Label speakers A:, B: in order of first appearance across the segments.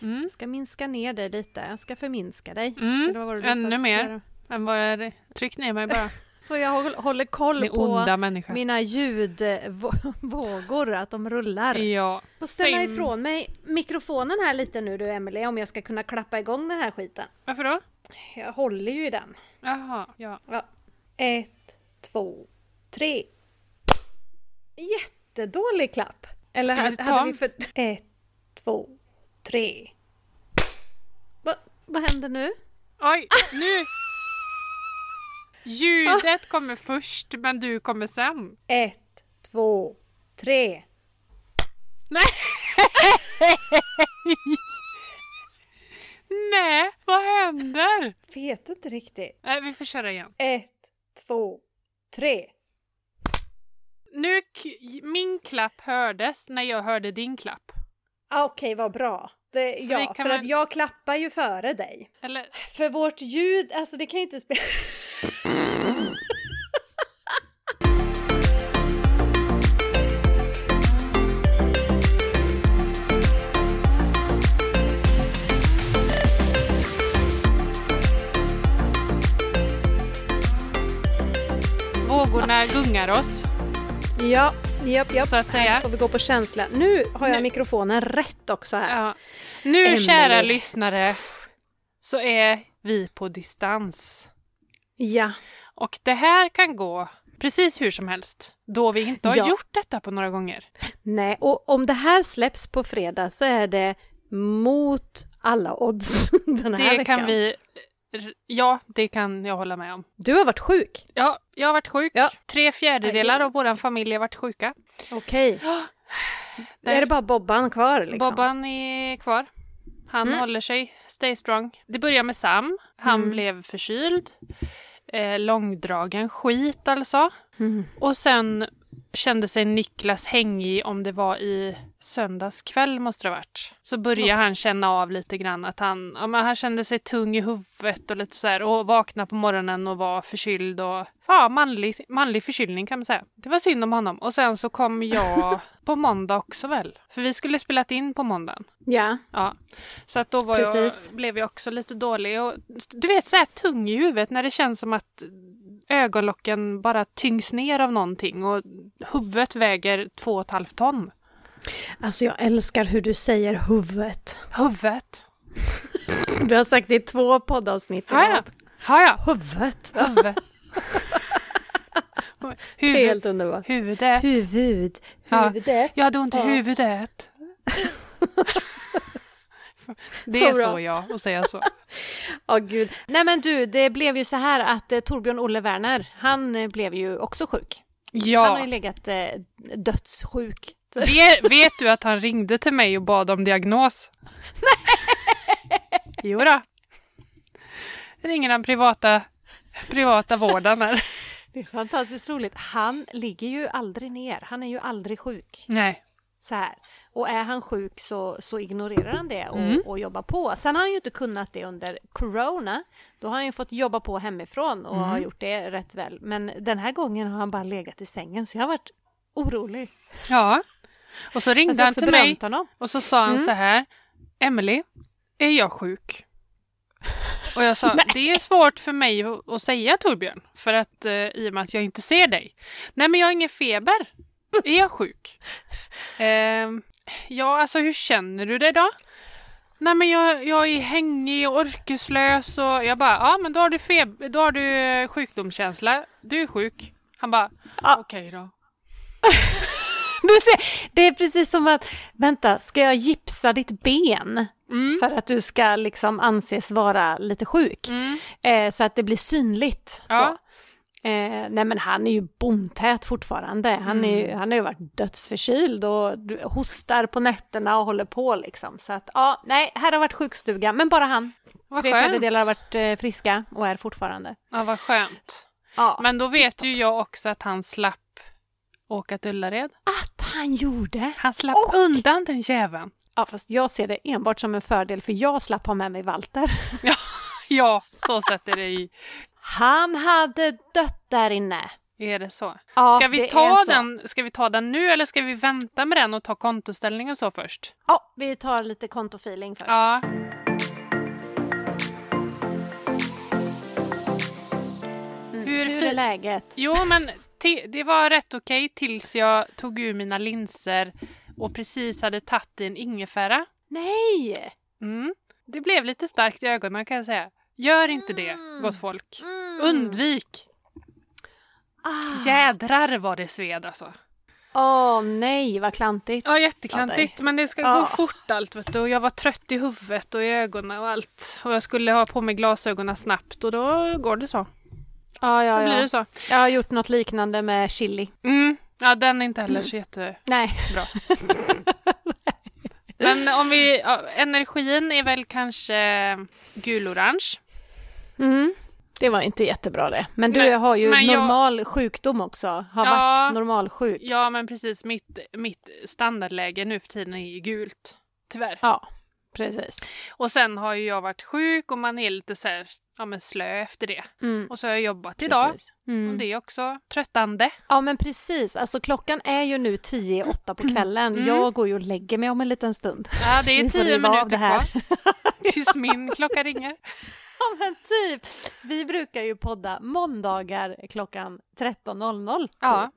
A: Mm.
B: Ska minska ner dig lite, ska förminska dig.
A: Mm.
B: Eller vad var det du sa att
A: Ännu
B: du skulle
A: mer.
B: göra?
A: Än vad jag tryckt ner mig bara.
B: Så jag håll- håller koll
A: Ni
B: på
A: onda människa.
B: mina ljudvågor, att de rullar.
A: Ja.
B: Får ställa
A: Sim.
B: ifrån mig mikrofonen här lite nu du Emelie om jag ska kunna klappa igång den här skiten.
A: Varför då?
B: Jag håller ju i den.
A: Jaha, ja.
B: Ett, två, tre. Jättedålig klapp. Eller
A: Ska vi
B: hade-
A: ta
B: hade vi
A: om?
B: för... Ett, två, tre. Va, vad händer nu?
A: Oj, nu! Ljudet kommer först, men du kommer sen.
B: Ett, två, tre.
A: Nej, vad händer?
B: Vet inte riktigt.
A: Nej, vi får köra igen.
B: Ett, två, tre.
A: Nu, k- min klapp hördes när jag hörde din klapp.
B: Ah, Okej, vad bra. Det,
A: Så vi
B: ja,
A: kan
B: för
A: väl-
B: att jag klappar ju före dig.
A: Eller?
B: För vårt ljud, alltså det kan ju inte spela...
A: Vågorna gungar oss.
B: Ja, japp, japp.
A: Så att säga.
B: Här får vi gå på känsla. Nu har jag
A: Nu-
B: mikrofonen rätt också här.
A: Ja. Nu,
B: Emelie.
A: kära lyssnare, så är vi på distans.
B: Ja,
A: Och det här kan gå precis hur som helst, då vi inte har
B: Ja.
A: gjort detta på några gånger.
B: nej, och om det här släpps på fredag så är det mot alla odds den här
A: Det
B: veckan.
A: kan vi... Ja, det kan jag hålla med om.
B: Du har varit sjuk.
A: Ja, jag har varit sjuk.
B: Ja.
A: Tre fjärdedelar av vår familj har varit sjuka.
B: Okej. Är det bara Bobban kvar liksom? Mm.
A: Bobban är kvar. Han håller sig. Stay strong. Det börjar med Sam. Han blev förkyld. Eh, långdragen skit alltså.
B: Mm.
A: Och sen kände sig Niklas hängig om det var i söndags kväll måste det ha varit. Så började han känna av lite grann att han, ja, men han kände sig tung i huvudet och lite så här och vaknade på morgonen och var förkyld och ja, manlig, manlig förkylning kan man säga. Det var synd om honom. Och sen så kom jag på måndag också väl? För vi skulle spelat in på måndagen.
B: Ja.
A: Ja, så att då var
B: Precis.
A: jag, blev jag också lite dålig. Och, du vet, så här tung i huvudet när det känns som att ögonlocken bara tyngs ner av någonting och huvudet väger två och ett halvt ton.
B: Alltså jag älskar hur du säger huvudet.
A: Huvudet!
B: Du har sagt det i två poddavsnitt i
A: Har jag?
B: rad.
A: Har jag?
B: Huvudet.
A: Huvudet.
B: Det är
A: Huvud,
B: helt underbart.
A: huvudet.
B: Huvud.
A: Ja.
B: Huvudet.
A: Jag hade ont i
B: Ja.
A: huvudet. Det
B: Så
A: är
B: bra.
A: så jag att säga så.
B: Ja, gud. Nej men du, det blev ju så här att eh, Torbjörn Olle Werner, han eh, blev ju också sjuk. Han har ju
A: Ja,
B: legat eh, dödssjuk.
A: vet, vet du att han ringde till mig och bad om diagnos? Nej! Jodå. Ringer han privata, privata vården här.
B: Det är fantastiskt roligt. Han ligger ju aldrig ner, han är ju aldrig sjuk.
A: Nej.
B: Så här. Och är han sjuk så, så ignorerar han det och,
A: Mm.
B: och jobbar på. Sen har han ju inte kunnat det under corona. Då har han ju fått jobba på hemifrån och
A: Mm.
B: har gjort det rätt väl. Men den här gången har han bara legat i sängen så jag har varit orolig.
A: Ja. Och så
B: Jag
A: ringde
B: har
A: han
B: Alltså också
A: till mig
B: berömt honom.
A: och så sa han
B: Mm.
A: så här. Emily, är jag sjuk? Och jag sa, det är svårt för mig att- att säga Torbjörn. För att eh, i och med att jag inte ser dig. Nej men jag har ingen feber. Är jag sjuk? Ehm, ja, alltså hur känner du dig då? Nej men jag, jag är hängig och orkeslös och jag bara, ja men då har du, feb- då har du eh, sjukdomskänsla. Du är sjuk. Han bara,
B: Ja.
A: okej då.
B: Du ser, det är precis som att, vänta, ska jag gipsa ditt ben
A: Mm.
B: för att du ska liksom anses vara lite sjuk?
A: Mm.
B: Eh, så att det blir synligt. Så.
A: Ja.
B: Eh, nej men han är ju bomtät fortfarande. Han, är,
A: Mm.
B: ju- han har ju varit dödsförkyld och du- hostar på nätterna och håller på liksom. Så att ja, nej, här har varit sjukstuga, men bara han.
A: Vad
B: Tre
A: skönt.
B: fjärdedelar har varit eh, friska och är fortfarande.
A: Ja, vad skönt.
B: Ja.
A: Men då vet ju jag också att han slapp åka till Ullared.
B: Att han gjorde!
A: Han slapp
B: Och-
A: undan den jäveln.
B: Ja, fast jag ser det enbart som en fördel för jag slapp ha med mig Walter.
A: Ja, så sätter det i.
B: Han hade dött där inne.
A: Är det så?
B: Ja,
A: Ska vi,
B: det
A: ta
B: är så.
A: den, ska vi ta den nu eller ska vi vänta med den och ta kontoställning och så först?
B: Ja, vi tar lite kontofeeling först.
A: Ja.
B: Mm,
A: Hur,
B: Hur
A: fi-
B: är läget?
A: Jo, men ti- det var rätt okej tills jag tog ur mina linser och precis hade tagit i en ingefära.
B: Nej!
A: Mm. Det blev lite starkt i ögonen kan jag säga. Gör inte det,
B: Mm.
A: gott folk.
B: Mm.
A: Undvik!
B: Ah.
A: Jädrar vad det sved alltså.
B: Åh nej, vad klantigt.
A: Ja, jätteklantigt. Men det ska
B: Ja.
A: gå fort allt. Vet du. Och jag var trött i huvudet och i ögonen och allt. Och jag skulle ha på mig glasögonen snabbt och då går det så.
B: Ja,
A: Då
B: ja,
A: blir
B: ja.
A: det så.
B: Jag har gjort något liknande med chili.
A: Mm. Ja, den är inte heller så jätte...
B: Nej.
A: Men om vi... Ja, energin är väl kanske gulorange.
B: Mm. Det var inte jättebra det. Men du
A: Men-
B: har ju
A: men jag-
B: normal sjukdom också. Har
A: Ja.
B: varit normalsjuk.
A: Ja, men precis. Mitt, mitt standardläge nu för tiden är ju gult. Tyvärr.
B: Ja, precis.
A: Och sen har ju jag varit sjuk och man är lite så här, ja, men slö efter det.
B: Mm.
A: Och så har jag jobbat idag.
B: Precis. Mm.
A: Och det är också tröttande.
B: Ja men precis, alltså klockan är ju nu tio i åtta på kvällen.
A: Mm.
B: Jag går ju och lägger mig om en liten stund.
A: Ja,
B: Så
A: det är
B: vi får
A: tio
B: riva av
A: minuter
B: det här.
A: kvar tills min klocka ringer.
B: Ja men typ! Vi brukar ju podda måndagar klockan 13.00 typ.
A: Ja.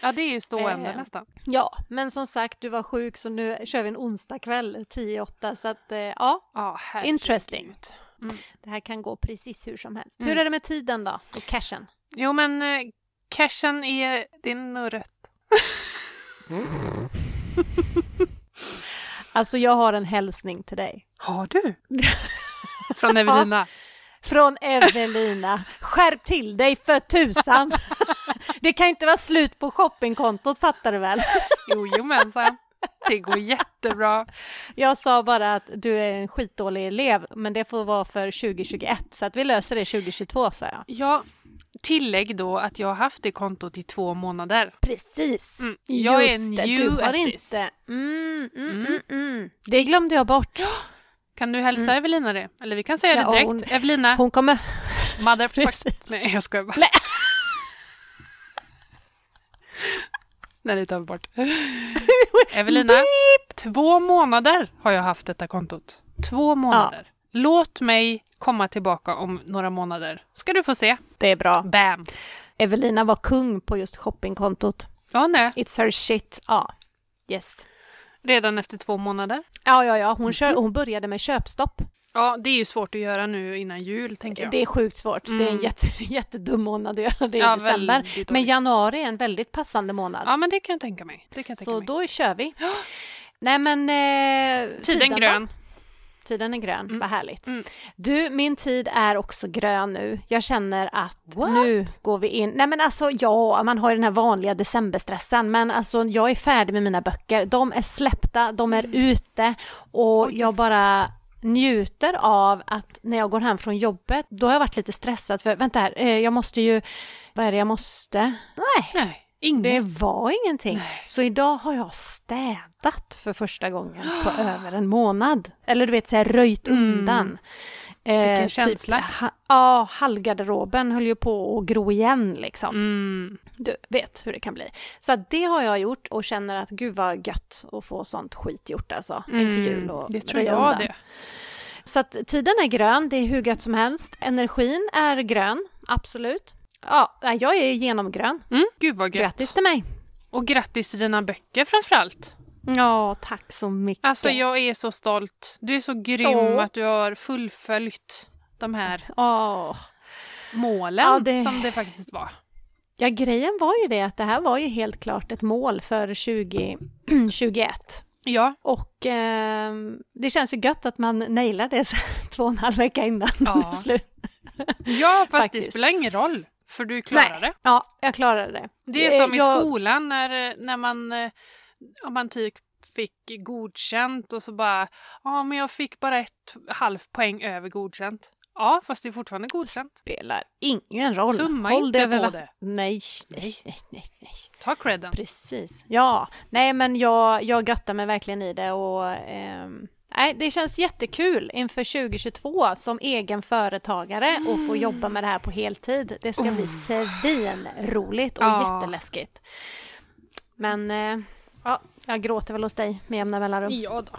A: Ja, det är ju stående
B: Eh.
A: nästan.
B: Ja, men som sagt du var sjuk så nu kör vi en onsdagkväll 10.08 så att eh, ja,
A: Ja, herregud.
B: Interesting.
A: Mm.
B: det här kan gå precis hur som helst.
A: Mm.
B: Hur är det med tiden då och cashen?
A: Jo, men eh, cashen är... Det är nog rätt.
B: Alltså jag har en hälsning till dig.
A: Har du? Från Evelina.
B: Från Evelina. Skärp till dig för tusan! Det kan inte vara slut på shoppingkontot fattar du väl?
A: Jojomensan. Det går jättebra.
B: Jag sa bara att du är en skitdålig elev, men det får vara för 2021, så att vi löser det 2022, sa jag.
A: Ja, tillägg då att jag har haft det kontot i två månader.
B: Precis!
A: Mm. Jag är
B: Just det,
A: new
B: du har
A: at this.
B: inte... Mm, mm, mm. Mm, det glömde jag bort.
A: Kan du hälsa Evelina det? Eller vi kan säga
B: Mm. Ja,
A: det direkt.
B: hon-
A: Evelina,
B: Hon kommer...
A: motherfuck...
B: Precis.
A: Nej, jag skojar bara.
B: Nej.
A: Nej, det tar vi bort. Evelina, två månader har jag haft detta kontot. Två månader. Låt mig komma tillbaka om några månader. Ska du få se.
B: Det är bra.
A: Bam!
B: Evelina var kung på just shoppingkontot.
A: Ja, nej.
B: It's her shit. Ja, yes.
A: Redan efter två månader.
B: Ja, ja, ja. Hon,
A: Mm.
B: kör, hon började med köpstopp.
A: Ja, det är ju svårt att göra nu innan jul, tänker jag.
B: Det är sjukt svårt. Det är en
A: Mm.
B: jätte, jättedum månad att göra det i
A: Ja,
B: december.
A: väldigt dåligt.
B: Men januari är en väldigt passande månad.
A: Ja, men det kan jag tänka mig. Det kan jag tänka
B: Så
A: mig.
B: då kör vi. Nej men... Eh,
A: Tiden,
B: då?
A: grön.
B: Tiden är grön, vad härligt.
A: Mm.
B: Du, min tid är också grön nu. Jag känner att
A: What?
B: nu går vi in... Nej men alltså ja, man har ju den här vanliga decemberstressen. Men alltså jag är färdig med mina böcker. De är släppta, de är
A: Mm.
B: ute och jag bara njuter av att när jag går hem från jobbet, då har jag varit lite stressad för vänta här, eh, jag måste ju, vad är det jag måste? Nej,
A: Nej, ingen.
B: det var ingenting. Så idag har jag städat för första gången på över en månad. Eller du vet, så här röjt undan. Eh,
A: Mm. Vilken känsla.
B: Typ, ha, ja, halvgarderoben höll ju på att gro igen liksom.
A: Mm.
B: Du vet hur det kan bli. Så att det har jag gjort och känner att gud vad gött att få sånt skit gjort alltså inför jul och
A: Mm. det tror
B: röja
A: jag
B: undan.
A: det.
B: Så att tiden är grön, det är hur gött som helst. Energin är grön, absolut. Ja, nej, jag är genomgrön.
A: Mm. Gud vad gött.
B: Grattis till mig!
A: Och grattis till dina böcker framförallt.
B: Ja, tack så mycket.
A: Alltså jag är så stolt. Du är så grym
B: Åh.
A: att du har fullföljt de här
B: Åh.
A: målen
B: Ja, det-
A: som det faktiskt var.
B: Ja, grejen var ju det att det här var ju helt klart ett mål för 2021.
A: Ja,
B: Och ehm, det känns ju gött att man nailar det så här två och en halv vecka innan
A: Ja,
B: slut.
A: ja fast det
B: Faktiskt.
A: spelar ingen roll. För du klarar det.
B: Ja, jag klarade det.
A: Det är som i
B: Eh, jag,
A: skolan när, när man, eh, om man typ fick godkänt och så bara, ja men jag fick bara ett halvt poäng över godkänt. Ja, fast det är fortfarande godkänt.
B: spelar ingen roll.
A: Tumma inte på
B: va-
A: det.
B: Nej, nej,
A: Nej.
B: nej, nej, nej.
A: Ta credden.
B: Precis. Ja, nej men jag, jag göttar mig verkligen i det och ehm, Nej, det känns jättekul inför 2022 som egen företagare och
A: Mm.
B: få jobba med det här på heltid. Det ska bli svinroligt och
A: Ja.
B: jätteläskigt. Men eh, ja, jag gråter väl hos dig med jämna mellanrum.
A: Ja då.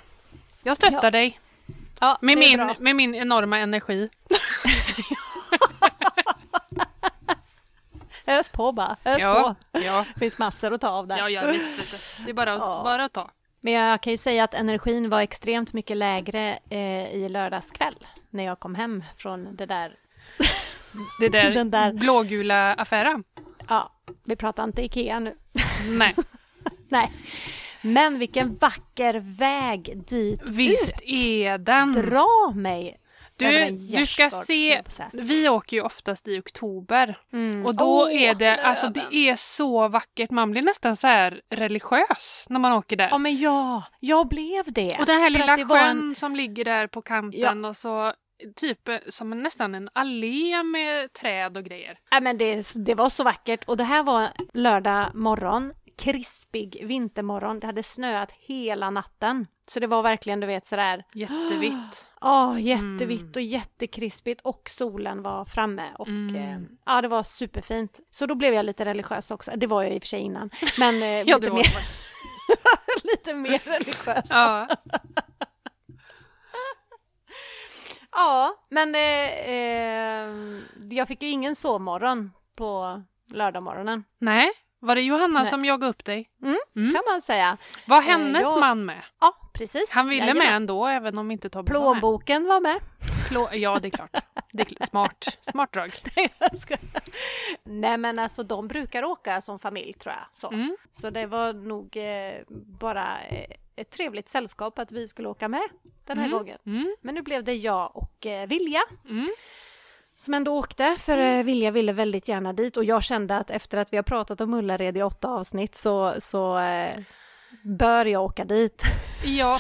A: Jag stöttar
B: Ja.
A: dig
B: Ja,
A: med
B: det är
A: min,
B: bra.
A: med min enorma energi.
B: Ös på bara, ös
A: Ja,
B: på.
A: ja,
B: Det finns massor att ta av där.
A: ja, jag visst lite. Det är bara,
B: Ja.
A: bara att ta.
B: Men jag kan ju säga att energin var extremt mycket lägre eh, i lördags kväll när jag kom hem från det där.
A: Det där,
B: Den där-
A: blågula affären.
B: Ja, vi pratar inte Ikea nu.
A: Nej,
B: Nej. Men vilken vacker väg dit
A: visst
B: ut.
A: är den.
B: Dra mig över
A: Du,
B: en
A: du ska
B: gärdsgård, höll
A: se,
B: jag på att säga.
A: vi åker ju oftast i oktober.
B: Mm.
A: Och då
B: Åh,
A: är det, alltså
B: löven.
A: det är så vackert. Man blir nästan så här religiös när man åker där.
B: Ja men ja, jag blev det.
A: Och den här
B: För
A: lilla
B: att det var
A: sjön
B: en-
A: som ligger där på kanten och så typ eh, som en- nästan en allé med träd och grejer.
B: Nej, men det, det var så vackert och det här var lördag morgon, krispig vintermorgon. Det hade snöat hela natten. Så det var verkligen du vet sådär,
A: Jättevitt.
B: ja
A: Mm.
B: jättevitt och jättekrispigt och solen var framme och
A: Mm.
B: eh, ja det var superfint. Så då blev jag lite religiös också, det var jag i och för sig innan, men eh,
A: Ja, det
B: lite,
A: var
B: mer,
A: det.
B: lite mer religiös.
A: Ja.
B: Ja, men eh, eh, jag fick ju ingen sovmorgon på lördagmorgonen.
A: Nej, var det Johanna
B: Nej.
A: som jagade upp dig?
B: Mm,
A: Mm.
B: kan man säga.
A: Var hennes
B: jag-
A: man med?
B: Eh, Ja, precis.
A: Han ville
B: Jajamän.
A: med ändå, även om inte Tobbe var med.
B: Plånboken var med.
A: Plå... Ja, det är klart. Det är kl- smart. Smart drag.
B: Jag skojar. Nej men alltså de brukar åka som familj tror jag. Så,
A: Mm.
B: så det var nog eh, bara eh, ett trevligt sällskap att vi skulle åka med den här gången.
A: Mm.
B: Men nu blev det jag och eh, Vilja
A: Mm.
B: som ändå åkte för eh, Vilja ville väldigt gärna dit och jag kände att efter att vi har pratat om Ullared i åtta avsnitt så, så eh, bör jag åka dit.
A: Ja.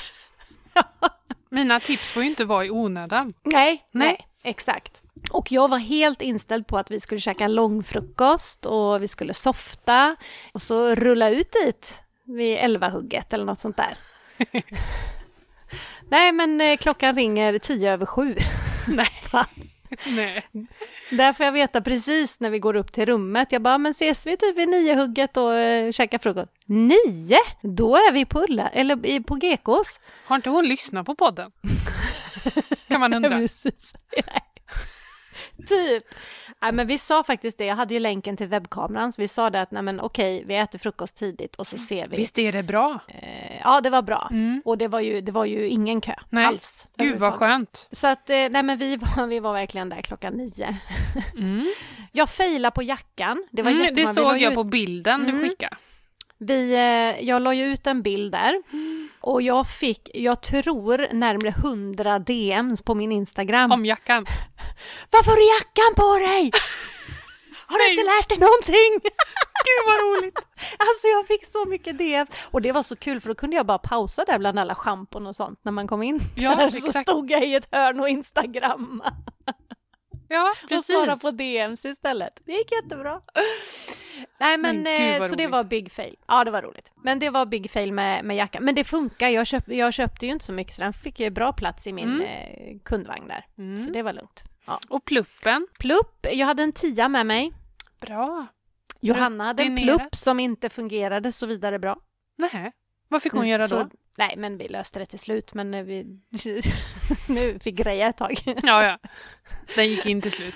A: Mina tips får ju inte vara i onödan.
B: Nej,
A: Nej.
B: nej, exakt. Och jag var helt inställd på att vi skulle käka en långfrukost och vi skulle softa och så rulla ut dit vid elva-hugget eller något sånt där. nej, men eh, klockan ringer tio över sju.
A: Nej.
B: Va?
A: Nej.
B: Där får jag veta precis när vi går upp till rummet. Jag bara, men ses vi typ vid nio-hugget och eh, käkar frukost? Nio? Då är vi på, Ulla, eller i- på Gekås.
A: Har inte hon lyssnat på podden? Kan man undra.
B: Precis. typ. Nej, men vi sa faktiskt det, jag hade ju länken till webbkameran, så vi sa det att nej, men okej, vi äter frukost tidigt och så ser vi.
A: Mm. Visst är det bra?
B: Eh, Ja, det var bra.
A: Mm.
B: Och det var ju, det var ju ingen kö
A: Nej.
B: alls.
A: Gud vad
B: överhuvudtaget.
A: skönt.
B: Så att, eh, nej men vi var, vi var verkligen där klockan nio.
A: Mm.
B: Jag failade på jackan. Det var
A: Mm,
B: jättemånga-
A: det
B: vi
A: såg
B: la ju
A: jag på bilden du
B: Mm.
A: skickade.
B: Vi, eh, jag la ju ut en bild där och jag fick, jag tror, närmare 100 DMs på min Instagram.
A: Om jackan.
B: Varför har du jackan på dig? Har du
A: Nej.
B: inte lärt dig någonting?
A: Gud vad roligt!
B: Alltså jag fick så mycket DM och det var så kul för då kunde jag bara pausa där bland alla schampon och sånt när man kom in.
A: Ja,
B: där, så
A: exakt.
B: stod jag i ett hörn och instagramma
A: Ja,
B: och
A: precis.
B: svarade på DMs istället. Det gick jättebra. Nej men,
A: Men gud,
B: eh,
A: vad
B: så det
A: roligt.
B: var big fail. Ja det var roligt. Men det var big fail med, med jackan. Men det funkar, jag, köp, jag köpte ju inte så mycket så den fick ju bra plats i min
A: Mm.
B: eh, kundvagn där. Så
A: Mm.
B: det var lugnt. Ja.
A: Och pluppen.
B: Plupp, jag hade en tia med mig.
A: Bra.
B: Johanna hade en
A: Rutinerat.
B: plupp som inte fungerade så vidare bra. Mm.
A: Nej. Vad fick hon göra
B: Så-
A: då?
B: Nej, men vi löste det till slut, men eh, vi, nu fick greja ett tag.
A: Ja, ja. Den gick in till slut.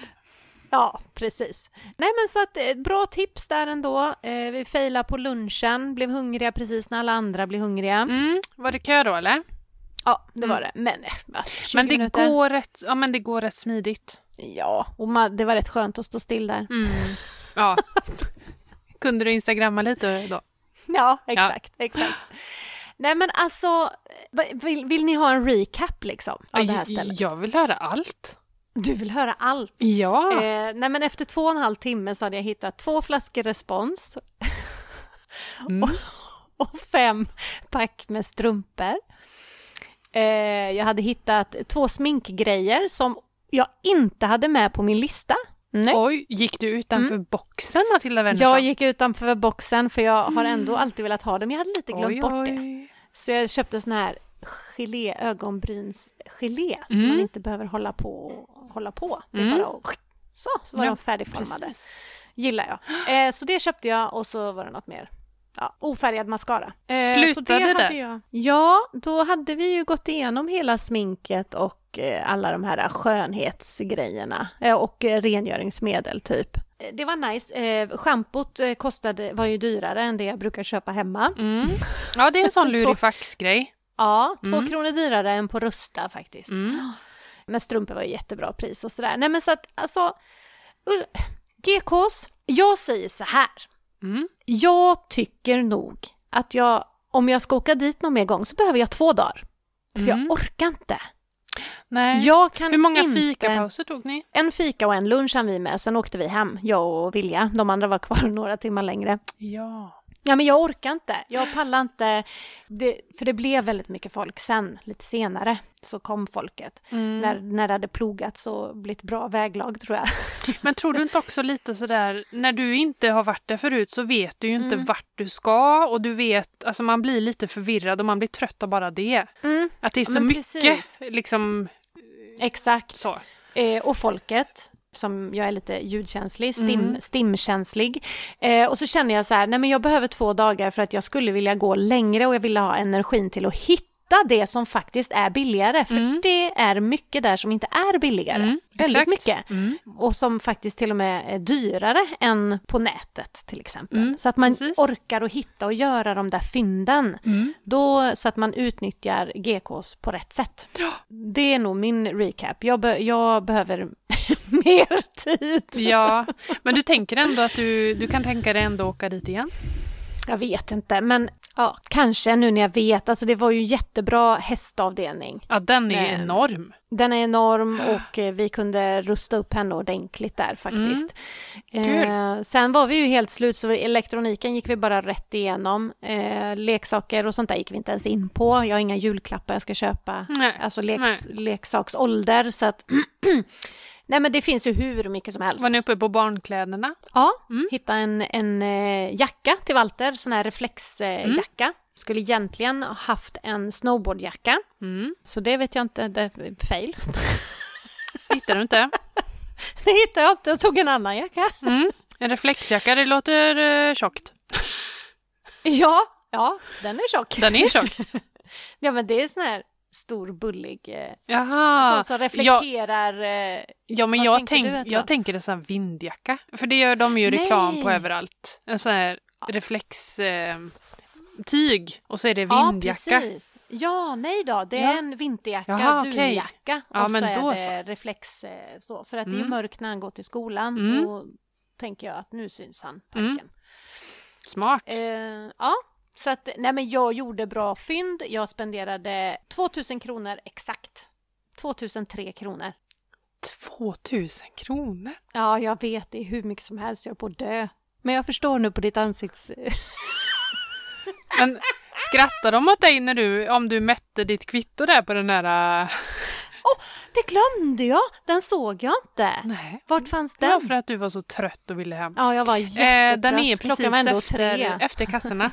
B: Ja, precis. Nej, men så att eh, bra tips där ändå. Eh, vi failade på lunchen, blev hungriga precis när alla andra blev hungriga.
A: Mm. Var det kö då eller?
B: Ja, det var det. Men, eh, alltså, 20
A: Men det,
B: minuter.
A: går rätt, ja, men det går rätt smidigt.
B: Ja, och man, det var rätt skönt att stå still där.
A: Mm. Ja. Kunde du instagramma lite då?
B: Ja, exakt, exakt. Nej, men alltså, eh, vad- vill, vill ni ha en recap liksom av det här stället?
A: Jag vill höra allt.
B: Du vill höra allt.
A: Ja.
B: Eh, nej men efter två och en halv timme så hade jag hittat två flaskor Respons
A: Mm.
B: och fem pack med strumpor. Eh, jag hade hittat två sminkgrejer som jag inte hade med på min lista. Nej.
A: Oj, gick du utanför boxen Matilda Wernersson?
B: Mm. Jag gick
A: Mm.
B: utanför boxen för jag har ändå alltid velat ha dem. Jag hade lite glömt bort det. Så jag köpte såna här gelé, ögonbrynsgelé så
A: Mm.
B: man inte behöver hålla på och hålla på. Det är
A: Mm.
B: bara att, så, så var
A: Ja,
B: de färdigformade.
A: precis.
B: Gillar jag. Eh, så det köpte jag och så var det något mer. Ja, ofärgad mascara. Eh, så
A: Slutade
B: hade
A: där?
B: Jag. Ja, då hade vi ju gått igenom hela sminket och eh, alla de här skönhetsgrejerna eh, och eh, rengöringsmedel typ. Eh, Det var nice. Eh, Schampot eh, kostade, var ju dyrare än det jag brukar köpa hemma.
A: Mm. Ja, det är en sån lurifax-grej.
B: Ja, två
A: Mm.
B: kronor dyrare än på Rusta faktiskt.
A: Mm.
B: Men strumpor var ju jättebra pris och sådär. Nej men så att alltså, ull- GKs, jag säger så här.
A: Mm.
B: Jag tycker nog att jag, om jag ska åka dit någon mer gång så behöver jag två dagar. För
A: Mm.
B: jag orkar inte.
A: Nej.
B: Jag kan
A: Hur många
B: inte...
A: fikapauser tog ni?
B: En fika och en lunch hann vi med, sen åkte vi hem, jag och Vilja. De andra var kvar några timmar längre.
A: Ja.
B: Ja, men jag orkar inte. Jag pallar inte. Det, för det blev väldigt mycket folk sen, lite senare, så kom folket.
A: Mm.
B: När, när det hade plogats och blivit bra väglag tror jag.
A: Men tror du inte också lite sådär, när du inte har varit där förut så vet du ju inte
B: Mm.
A: vart du ska och du vet, alltså man blir lite förvirrad och man blir trött av bara det. Att det
B: Ja,
A: är så
B: men
A: mycket,
B: precis.
A: liksom
B: Exakt.
A: så.
B: Eh, och folket, som jag är lite ljudkänslig, stim,
A: Mm.
B: stimkänslig. Eh, och så känner jag så här, nej men jag behöver två dagar för att jag skulle vilja gå längre och jag vill ha energin till att hitta det som faktiskt är billigare. För det är mycket där som inte är billigare.
A: Mm,
B: Väldigt
A: exakt. Mm.
B: mycket. Och som faktiskt till och med är dyrare än på nätet till exempel. så att man
A: Mm, precis.
B: orkar att hitta och göra de där fynden. Då, så att man utnyttjar GKs på rätt sätt. Det är nog min recap. Jag, be- jag behöver mer tid.
A: Ja, men du tänker ändå att du, du kan tänka dig ändå åka dit igen?
B: Jag vet inte, men ja, kanske nu när jag vet. Alltså det var ju jättebra hästavdelning.
A: Ja, den är ju
B: Nej.
A: enorm.
B: Den är enorm och eh, vi kunde rusta upp henne ordentligt där faktiskt. Eh, sen var vi ju helt slut så elektroniken gick vi bara rätt igenom. Eh, leksaker och sånt där gick vi inte ens in på. Jag har inga julklappar jag ska köpa.
A: Nej,
B: Alltså leks, leksaksålder så att Nej men det finns ju hur mycket som helst.
A: Var ni Mm. uppe på barnkläderna?
B: Ja, hitta en, en eh, jacka till Walter, sån här reflexjacka. Skulle egentligen ha haft en snowboardjacka,
A: Mm.
B: så det vet jag inte, det är fail.
A: Hittar du inte?
B: Det hittade jag inte, jag tog en annan jacka.
A: Mm. En reflexjacka, det låter uh, tjockt.
B: Ja, ja, den är tjock.
A: Den är tjock.
B: Ja men det är sån här stor bullig, eh,
A: Jaha.
B: sån som
A: Ja,
B: reflekterar. eh,
A: Ja, men
B: Vad tänker
A: jag, tänk,
B: du att det var?
A: jag tänker en sån här vindjacka. För det gör de ju reklam på
B: Nej.
A: överallt. En sån här reflex... Eh, tyg och så är det
B: Ja,
A: vindjacka.
B: precis. Ja, nej då, det är
A: Ja.
B: en vinterjacka,
A: Jaha, okej.
B: dunjacka
A: Ja,
B: och
A: men
B: så är
A: då
B: det reflex eh, så. För att det är ju
A: Mm.
B: mörkt när han går till skolan
A: Mm.
B: och tänker jag att nu syns han,
A: Mm.
B: parken.
A: Smart.
B: Eh, ja, så att nej men jag gjorde bra fynd. Jag spenderade 2000 kronor exakt. 2003 kronor.
A: 2000 kronor.
B: Ja, jag vet, det är hur mycket som helst, jag är på att dö. Men jag förstår nu på ditt ansikts...
A: Men skrattar de åt dig när du, om du mätte ditt kvitto där på den där... eh,
B: Det glömde jag! Den såg jag inte.
A: Nej.
B: Vart fanns
A: Det var
B: den?
A: för att du var så trött och ville hem.
B: Ja, jag var
A: Eh,
B: jättetrött.
A: den är precis
B: Klockan var ändå tre.
A: efter, efter kassorna.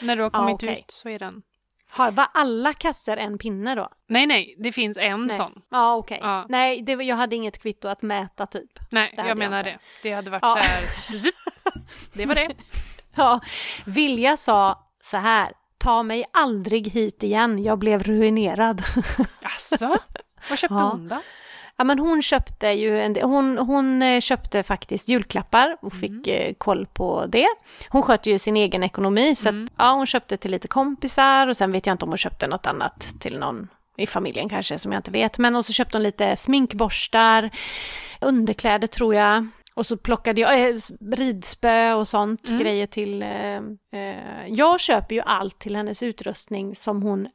A: när du har
B: Ja,
A: kommit
B: okej.
A: ut så är den...
B: Har, var alla kasser en pinne då?
A: Nej, nej, det finns en
B: Nej.
A: sån.
B: Ja, okej.
A: Ja.
B: Nej, det, var- jag hade inget kvitto att mäta typ.
A: Nej,
B: Det hade
A: jag
B: jag
A: menar
B: inte.
A: det. Det hade varit
B: Ja.
A: så här... Zip. Det var det.
B: Ja. Vilja sa så här, ta mig aldrig hit igen, jag blev ruinerad.
A: Alltså, Vad köpte
B: Ja.
A: hon då?
B: Ja, men hon köpte ju en, hon, hon eh, köpte faktiskt julklappar och fick eh, koll på det. Hon skötte ju sin egen ekonomi, så att, ja, hon köpte till lite kompisar och sen vet jag inte om hon köpte något annat till någon i familjen kanske, som jag inte vet. Men och så köpte hon lite sminkborstar, underkläder tror jag. Och så plockade jag eh, s- ridspö och sånt, grejer till... Eh, eh, jag köper ju allt till hennes utrustning som hon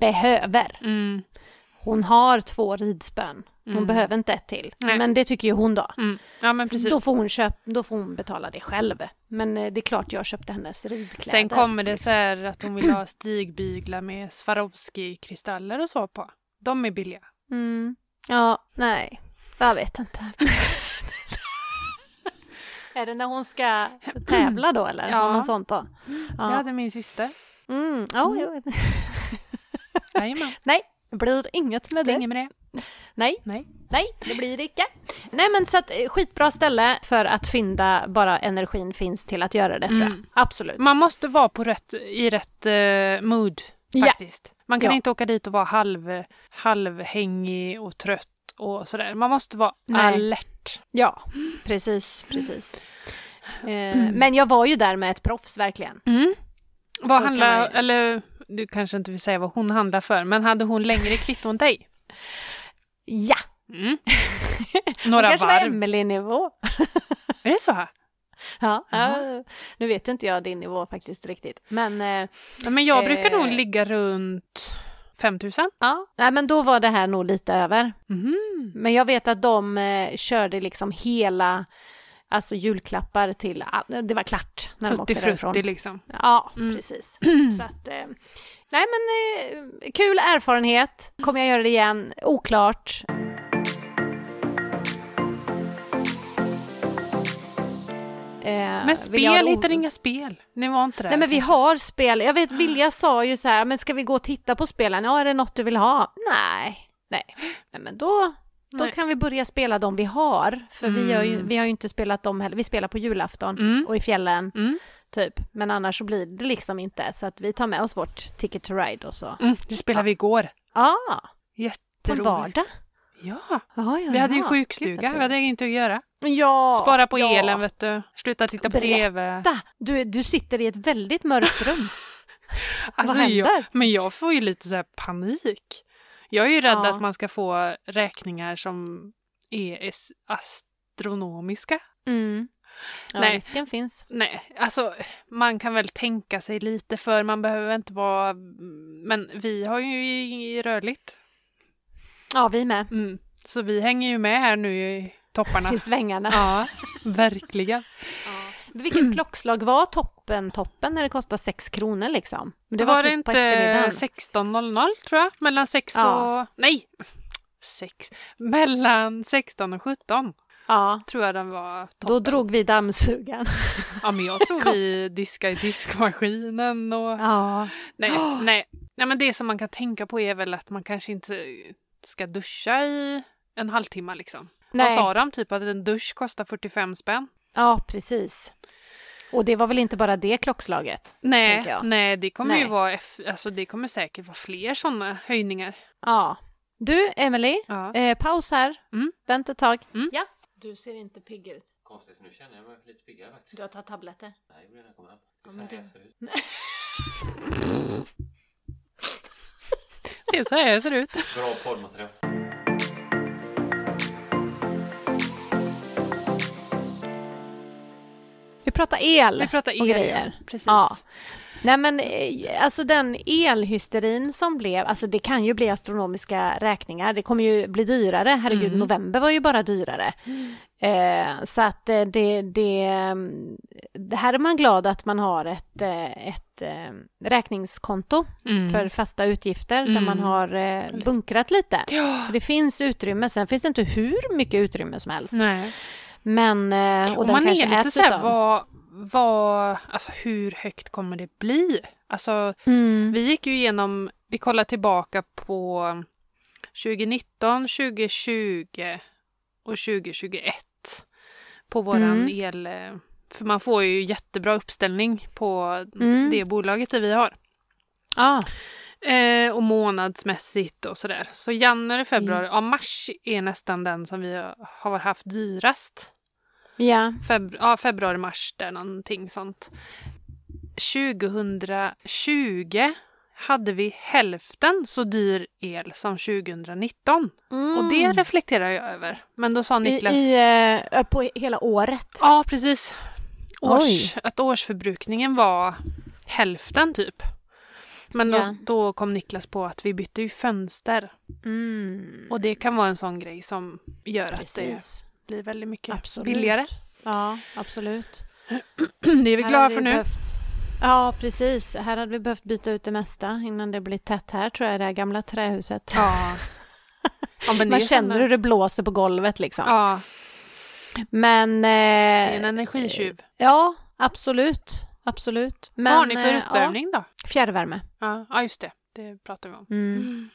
B: behöver.
A: Mm.
B: Hon har två ridspön. Hon behöver inte ett till.
A: Nej.
B: Men det tycker ju hon då.
A: Mm. Ja, men precis.
B: Då får, hon köp, då får hon betala det själv. Men eh, det är klart jag köpte hennes ridkläder.
A: Sen kommer det
B: liksom.
A: så här att hon vill ha stigbyglar med Swarovski-kristaller och så på. De är billiga.
B: Mm. Ja, nej. Jag vet inte. är det när hon ska tävla då eller?
A: Ja.
B: Har man sånt då?
A: Det
B: Ja.
A: hade min syster.
B: Mm. ja jo.
A: Jajamän,
B: Nej, det blir inget med
A: det är
B: det.
A: inget med det.
B: Nej,
A: Nej.
B: nej, det blir det icke. Nej men så att eh, skitbra ställe för att fynda bara energin finns till att göra det tror jag.
A: Mm.
B: Absolut.
A: Man måste vara på rätt, i rätt eh, mood
B: Ja.
A: faktiskt. Man kan
B: Ja.
A: inte åka dit och vara halv, halvhängig och trött och sådär. Man måste vara
B: Nej.
A: alert.
B: Ja,
A: Mm.
B: precis, precis. Eh, men jag var ju där med ett proffs verkligen.
A: Mm.
B: Så
A: Vad
B: kan
A: handlar,
B: man ju.
A: eller du kanske inte vill säga vad hon handlar för, men hade hon längre kvitto än dig?
B: Ja,
A: Mm.
B: det
A: Några
B: kanske var
A: varv.
B: Emelie-nivå.
A: Är det så här?
B: Ja,
A: Jaha.
B: ja, nu vet inte jag din nivå faktiskt riktigt. Men eh,
A: Ja, men jag brukar nog
B: Eh.
A: ligga runt 5000.
B: ja, nej, men då var det här nog lite över.
A: Mhm.
B: Men jag vet att de eh, körde liksom hela, alltså julklappar till, all- det var klart när de
A: Tutti
B: åkte därifrån.
A: frutti liksom.
B: Ja,
A: Mm.
B: precis. Så att, eh, nej men eh, kul erfarenhet. Kommer jag göra det igen? Oklart. Eh,
A: Men
B: vill jag ha
A: spel,
B: det o-
A: hittar inga spel. Ni var inte där.
B: Nej men vi
A: kanske. Ah.
B: har spel. Jag vet Vilja sa ju så här, men ska vi gå och titta på spelen? Ja, är det något du vill ha? Nej. Nej, Nej men då, då
A: Nej.
B: kan vi börja spela de vi har. För vi, har ju,
A: Mm.
B: vi har ju inte spelat dem heller. Vi spelar på julafton
A: Mm.
B: och i fjällen
A: Mm.
B: typ. Men annars så blir det liksom inte. Så att vi tar med oss vårt Ticket to Ride och så.
A: Mm, det spelade vi igår.
B: Ja, på
A: Jätteroligt.
B: vardag.
A: Ja,
B: Ja, ja,
A: vi hade ju
B: ja. Gud,
A: sjukstuga.
B: vad
A: Vi hade inte att göra.
B: trevligt. ja,
A: Spara på
B: ja.
A: elen, vet du. Sluta titta på
B: Berätta.
A: tv.
B: Du, du sitter i ett väldigt mörkt rum.
A: Alltså,
B: händer?
A: Jag, men jag får ju lite så här panik. Jag är ju rädd
B: Ja.
A: att man ska få räkningar som är es- astronomiska.
B: Mm. Ja,
A: Nej.
B: risken finns.
A: Nej, alltså man kan väl tänka sig lite för man behöver inte vara... Men vi har ju i- i rörligt.
B: Ja, vi med.
A: Mm. Så vi hänger ju med här nu i topparna.
B: I svängarna.
A: ja, verkligen.
B: Vilket klockslag var toppen, toppen när det kostade 6 kronor liksom? Men
A: Det var, det inte 16.00 tror jag? Mellan 6
B: Ja.
A: och... Nej! 6. Mellan 16 och 17
B: Ja,
A: tror jag den var toppen.
B: då drog vi dammsugaren.
A: Ja, men jag tror vi diskade i diskmaskinen och...
B: Ja.
A: Nej, nej. nej, men det som man kan tänka på är väl att man kanske inte ska duscha i en halvtimme liksom. Vad
B: Nej.
A: sa de? Typ att en dusch kostar 45 spänn?
B: ja, precis. Och det var väl inte bara det klockslaget? tänker
A: Nej,
B: jag.
A: nej, det kommer ju
B: Nej.
A: vara, eff- alltså det kommer säkert vara fler sådana höjningar.
B: Ja. Du, Emily,
A: Ja.
B: eh, paus här.
A: Mm.
B: Vänta ett tag.
A: Mm.
B: Ja. Du ser inte pigg ut.
C: Konstigt, för nu känner jag mig lite piggare faktiskt.
B: Du har tagit tabletter.
C: Nej, det blir när jag kommer hem. Det
B: Ja,
C: är
B: men
C: så här
B: du-
C: jag ser ut.
A: Det är så här jag ser ut.
C: Bra poddmaterial.
B: Vi pratar el.
A: Vi pratar el.
B: och grejer.
A: Precis.
B: Ja. Nej men eh, alltså den elhysterin som blev, alltså det kan ju bli astronomiska räkningar, det kommer ju bli dyrare, herregud
A: Mm.
B: november var ju bara dyrare. Eh, så att eh, det, det, mm, det här är man glad att man har ett, eh, ett eh, räkningskonto
A: Mm.
B: för fasta utgifter där
A: Mm.
B: man har eh, bunkrat lite.
A: Ja.
B: Så det finns utrymme, sen finns det inte hur mycket utrymme som helst.
A: Nej.
B: Men, eh, och,
A: Och
B: den
A: Mm. man
B: kanske
A: är lite
B: äts
A: så här,
B: utav.
A: vad, vad, alltså hur högt kommer det bli? Alltså,
B: Mm.
A: vi gick ju igenom, vi kollade tillbaka på 2019, 2020 och 2021 på våran
B: Mm.
A: el... För man får ju jättebra uppställning på
B: Mm.
A: det bolaget där vi har.
B: Ja,
A: Eh, och månadsmässigt och sådär. Så januari, februari, ja mars är nästan den som vi har haft dyrast.
B: ja.
A: Febru- ja, februari, mars där någonting sånt. 2020 hade vi hälften så dyr el som 2019. Och det
B: Mm.
A: reflekterar jag över. Men då sa Niklas...
B: I, i, eh, på hela året?
A: Ja, precis. Års,
B: Oj.
A: att årsförbrukningen var hälften typ. Men då,
B: Ja.
A: då kom Niklas på att vi bytte ju fönster.
B: Mm.
A: Och det kan vara en sån grej som gör att det
B: Precis.
A: blir väldigt mycket
B: Absolut.
A: billigare.
B: Ja, absolut.
A: Det är vi
B: Här
A: glada
B: hade
A: för
B: vi
A: nu.
B: behövt- Ja, precis. Här hade vi behövt byta ut det mesta innan det blir tätt här, tror jag, i det här gamla trähuset.
A: Ja. ja men
B: Man
A: det är
B: känner
A: sån-
B: hur det blåser på golvet liksom.
A: Ja,
B: Men...
A: det är en
B: Eh,
A: energitjuv.
B: ja, absolut. Absolut. Men,
A: Vad har ni för
B: eh,
A: uppvärmning då?
B: Ja, fjärrvärme.
A: Ja, ja just det. det pratar vi om.
B: Mm.
A: Mm.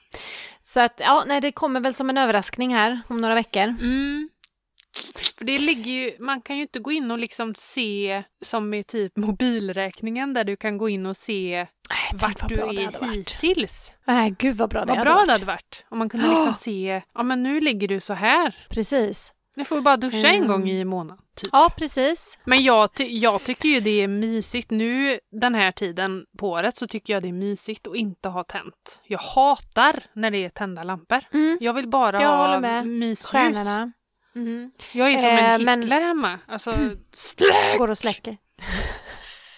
B: Så att, ja, nej, det kommer väl som en överraskning här om några veckor.
A: Mm. För det ligger ju, man kan ju inte gå in och liksom se som med typ mobilräkningen där du kan gå in och se
B: Nej, tänk
A: vart
B: vad
A: du
B: bra det hade
A: är
B: varit.
A: hittills.
B: Nej, gud vad bra det
A: Vad
B: hade
A: bra
B: varit.
A: det hade varit om man kunde liksom se, ja men nu ligger du så här.
B: Precis.
A: Nu får vi bara duscha en
B: Mm.
A: gång i månaden. Typ.
B: Ja, precis.
A: Men jag, ty- jag tycker ju det är mysigt nu den här tiden på året så tycker jag det är mysigt att inte ha tänt. Jag hatar när det är tända lampor.
B: Mm.
A: Jag vill bara
B: Jag håller
A: ha
B: med.
A: myshus.
B: Stjärnorna. Mm.
A: Jag är som
B: Eh,
A: en Hitler
B: men-
A: hemma. Alltså, släck!
B: Går och släcker.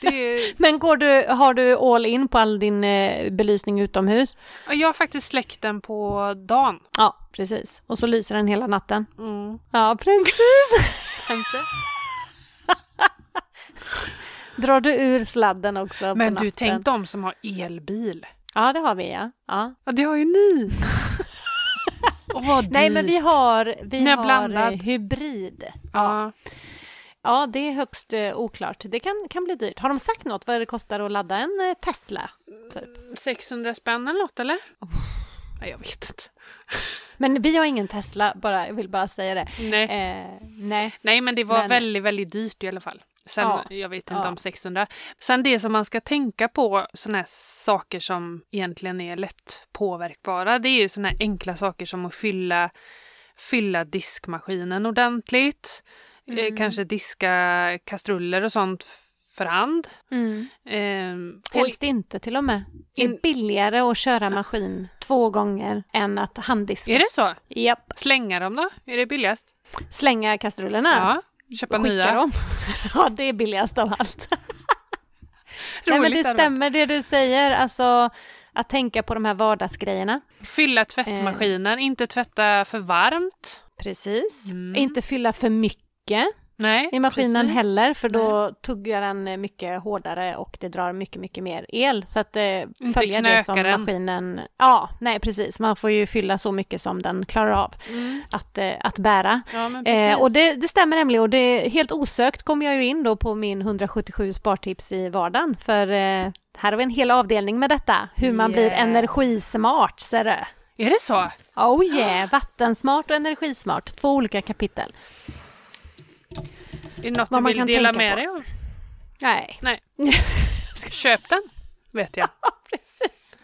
A: Det,
B: Men går du, har du all in på all din eh, belysning utomhus?
A: Ja, jag har faktiskt släckt den på dagen.
B: Ja, precis. Och så lyser den hela natten.
A: Mm,
B: Ja, precis.
A: kanske.
B: Drar du ur sladden också på
A: Men du,
B: natten?
A: tänk de som har elbil.
B: Ja, det har vi ja. ja.
A: Ja, det har ju ni. Och vad dyrt.
B: Nej, men vi har, vi
A: Ni har
B: har
A: blandat.
B: eh, hybrid.
A: Ja.
B: Ja, det är högst eh, oklart. Det kan, kan bli dyrt. Har de sagt något vad det kostar att ladda en eh, Tesla?
A: 600 spänn eller något, eller? Nej, jag vet inte.
B: Men vi har ingen Tesla, bara, jag vill bara säga det.
A: Nej,
B: Eh, nej.
A: Nej men det var
B: men-
A: väldigt, väldigt dyrt i alla fall. Sen,
B: Ja.
A: jag vet inte
B: Ja.
A: om 600. Sen det som man ska tänka på, sådana här saker som egentligen är lätt påverkbara, det är ju sådana här enkla saker som att fylla, fylla diskmaskinen ordentligt,
B: Mm.
A: eh, kanske diska kastruller och sånt f- för hand.
B: Mm.
A: Ehm, och-
B: Helst inte till och med. Det
A: In-
B: är billigare att köra maskin två gånger än att handdiska.
A: är det så?
B: Japp.
A: Slänga dem då? Är det billigast?
B: Slänga kastrullerna.
A: Ja. Köpa
B: Skicka
A: nya?
B: dem. ja, det är billigast av allt. Nej, men
A: Roligt
B: det
A: hade varit.
B: stämmer det du säger, alltså att tänka på de här vardagsgrejerna.
A: Fylla tvättmaskinen,
B: Eh.
A: inte tvätta för varmt.
B: Precis.
A: Mm.
B: Inte fylla för mycket
A: Nej,
B: i maskinen
A: precis.
B: heller, för då tuggar den eh, mycket hårdare och det drar mycket, mycket mer el. Så att eh, följa det
A: knöka
B: som
A: den.
B: maskinen... Ja, nej precis. Man får ju fylla så mycket som den klarar av
A: Mm.
B: att, eh, att bära.
A: Ja, men precis.
B: Eh, och det, det stämmer nämligen och det, helt osökt kom jag ju in då på min 177 spartips i vardagen för eh, här har vi en hel avdelning med detta, hur man blir
A: Yeah.
B: energismart ser du.
A: Är det så?
B: Oh yeah, vattensmart och energismart, två olika kapitel.
A: Är det något
B: Vad
A: du
B: man
A: vill
B: kan
A: dela
B: tänka
A: med
B: på.
A: dig av?
B: Nej,
A: Nej. Köp den, vet jag.
B: precis.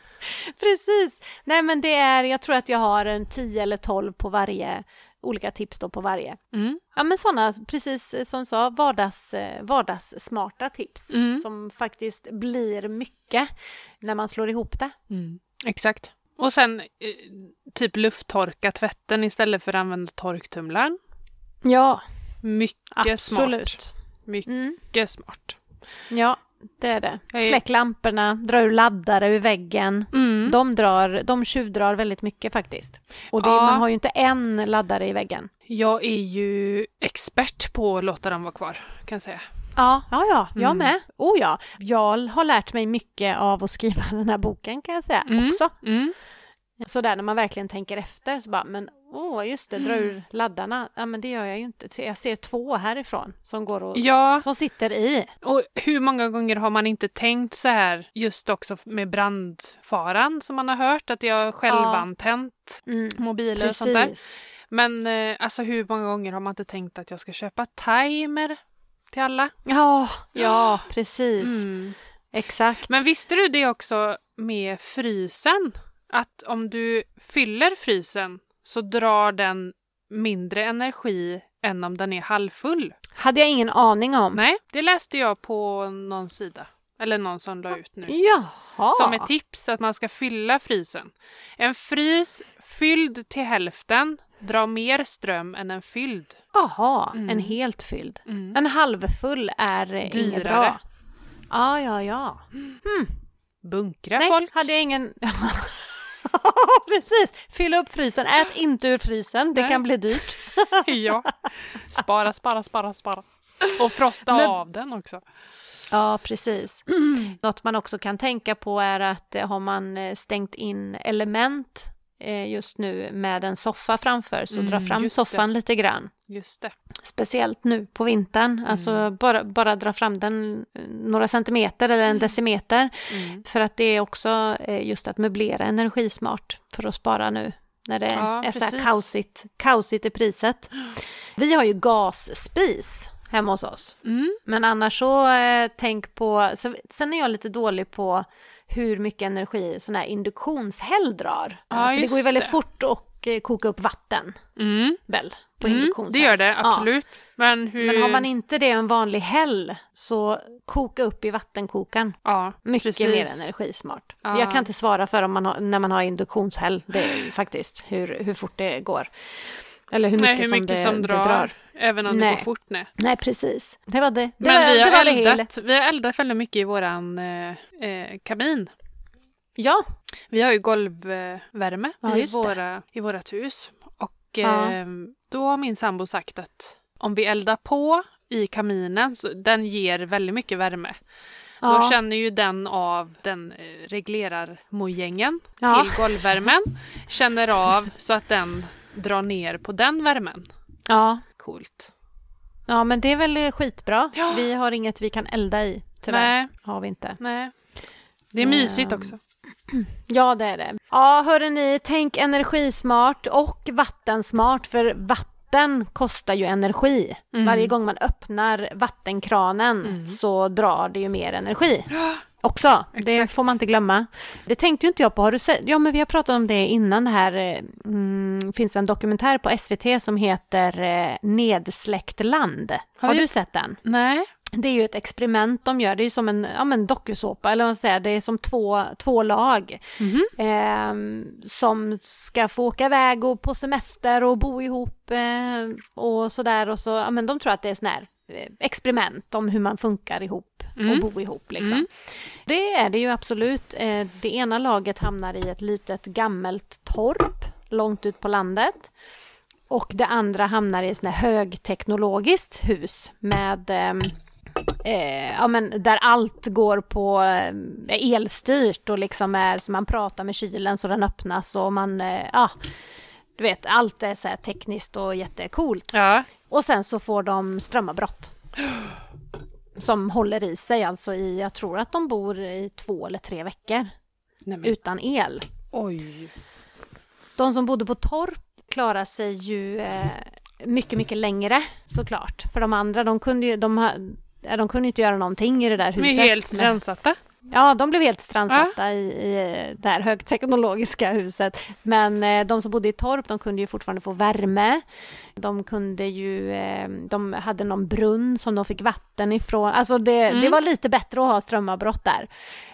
B: Precis. Nej men det är, jag tror att jag har en 10 eller 12 på varje, olika tips då på varje.
A: Mm.
B: Ja men sådana, precis som du sa, vardags, eh, vardagssmarta tips
A: Mm.
B: som faktiskt blir mycket när man slår ihop det.
A: Mm. Exakt. Och sen eh, typ lufttorka tvätten istället för att använda torktumlaren.
B: Ja,
A: Mycket
B: absolut.
A: smart. Mycket
B: Mm.
A: smart.
B: Ja, det är det.
A: Jag är-
B: Släck lamporna, dra ur laddare ur väggen.
A: Mm.
B: De, drar, de tjuvdrar väldigt mycket faktiskt. Och det,
A: Ja.
B: man har ju inte en laddare i väggen.
A: Jag är ju expert på att låta dem vara kvar, kan jag säga.
B: Ja, ja, ja jag
A: Mm.
B: med. Oh ja. Jag har lärt mig mycket av att skriva den här boken kan jag säga
A: Mm.
B: också.
A: Mm.
B: Så där när man verkligen tänker efter så bara, men åh, just det, dra
A: Mm.
B: ur laddarna. Ja, men det gör jag ju inte. Så Jag ser två härifrån som går och
A: Ja,
B: som sitter i.
A: och hur många gånger har man inte tänkt så här just också med brandfaran som man har hört att jag själv
B: Ja.
A: antänt
B: Mm.
A: mobiler och sånt där.
B: Precis.
A: Men eh, alltså hur många gånger har man inte tänkt att jag ska köpa timer till alla?
B: Ja, ja, precis.
A: Mm.
B: Exakt.
A: Men visste du det också med frysen? Att om du fyller frysen så drar den mindre energi än om den är halvfull.
B: Hade jag ingen aning om.
A: Nej, det läste jag på någon sida. Eller någon som la ut nu.
B: Jaha.
A: Som ett tips att man ska fylla frysen. En frys fylld till hälften drar mer ström än en fylld.
B: Jaha,
A: Mm.
B: en helt fylld.
A: Mm.
B: En halvfull är eh,
A: Dyrare.
B: inget bra. Ja, ja, ja.
A: Bunkra
B: Nej,
A: folk.
B: hade jag ingen... Precis! Fyll upp frysen, ät inte ur frysen, det
A: Nej.
B: kan bli dyrt.
A: ja. Spara, spara, spara, spara. Och frosta
B: Men-
A: av den också.
B: Ja, precis. Något man också kan tänka på är att eh, har man eh, stängt in element eh, just nu med en soffa framför så
A: Mm,
B: dra fram
A: just det.
B: soffan lite grann.
A: Just det.
B: speciellt nu på vintern.
A: Mm.
B: Alltså bara, bara dra fram den eh, några centimeter eller en decimeter.
A: Mm.
B: För att det är också eh, just att möblera energismart för att spara nu när det
A: Ja,
B: är så här
A: precis.
B: kaosigt, kaosigt i priset. Vi har ju gasspis hemma hos oss.
A: Mm.
B: Men annars så eh, tänk på, så, sen är jag lite dålig på hur mycket energi sån här induktionshäll drar.
A: Ja,
B: Eh, för det
A: just
B: går ju väldigt
A: det.
B: fort att eh, koka upp vatten
A: Mm.
B: väl på
A: Mm.
B: induktionshäll.
A: Det gör det,
B: Ja.
A: absolut. Men hur...
B: Men har man inte det en vanlig häll så koka upp i vattenkokaren.
A: ja,
B: Mycket
A: precis.
B: mer energismart.
A: Ja.
B: Jag kan inte svara för om man har, när man har induktionshäll, det är ju faktiskt hur, hur fort det går. Eller hur mycket,
A: Nej, hur mycket
B: det,
A: som, drar,
B: det drar.
A: Även om det
B: Nej.
A: går fort. Nej.
B: Nej, precis. Det var det. det
A: Men
B: var,
A: vi,
B: det var
A: har
B: det hela.
A: eldat, vi har eldat väldigt mycket i våran eh, eh, kamin.
B: Ja,
A: Vi har ju golvvärme
B: Ja,
A: i,
B: just det.
A: våra, i vårat hus. Och
B: Ja.
A: eh, då har min sambo sagt att om vi eldar på i kaminen, så den ger väldigt mycket värme. Då
B: ja.
A: känner ju den av den eh, reglerar mojängen
B: Ja.
A: till golvvärmen. Känner av så att den drar ner på den värmen.
B: ja.
A: Coolt.
B: ja, men det är väl skitbra.
A: Ja.
B: Vi har inget vi kan elda i, tyvärr.
A: Nej,
B: Har vi inte.
A: nej. Det är mysigt
B: Ehm,
A: också.
B: Ja, det är det. Ja, hörrni, ni, tänk energismart och vattensmart, för vatten kostar ju energi.
A: Mm.
B: Varje gång man öppnar vattenkranen så drar det ju mer energi. Också, det
A: Exakt.
B: får man inte glömma. Det tänkte ju inte jag på, har du sett? Ja, men vi har pratat om det innan det här. eh, Mm, finns en dokumentär på SVT som heter eh, Nedsläckt land. Har,
A: vi-
B: du sett den?
A: Nej.
B: Det är ju ett experiment de gör, det är ju som en ja, men dokusåpa, eller vad man säger, det är som två, två lag
A: Mhm.
B: ehm, som ska få åka iväg och på semester och bo ihop eh, och sådär och så, ja men de tror att det är sån här eh, experiment om hur man funkar ihop
A: Mm.
B: och bo ihop liksom.
A: Mm.
B: Det är det ju absolut. Eh, Det ena laget hamnar i ett litet gammalt torp långt ut på landet. Och det andra hamnar i ett sånt här högteknologiskt hus med ehm, Eh, ja, men där allt går på eh, elstyrt och liksom är så man pratar med kylen så den öppnas och man, eh, ja, du vet, allt är så här tekniskt och jättecoolt.
A: Ja.
B: Och sen så får de strömavbrott. Som håller i sig alltså i, jag tror att de bor i två eller tre veckor
A: Nej, men,
B: utan el.
A: oj.
B: De som bodde på torp klarade sig ju eh, mycket, mycket längre såklart. För de andra, de kunde ju, de, ha- ja, de kunde ju inte göra någonting i det där
A: De är
B: huset.
A: helt
B: Men-
A: strandsatta.
B: Ja, de blev helt strandsatta i, i eh, det här högteknologiska huset. Men eh, de som bodde i torp, de kunde ju fortfarande få värme. De kunde ju, eh, de hade någon brunn som de fick vatten ifrån. Alltså det, det var lite bättre att ha strömavbrott där.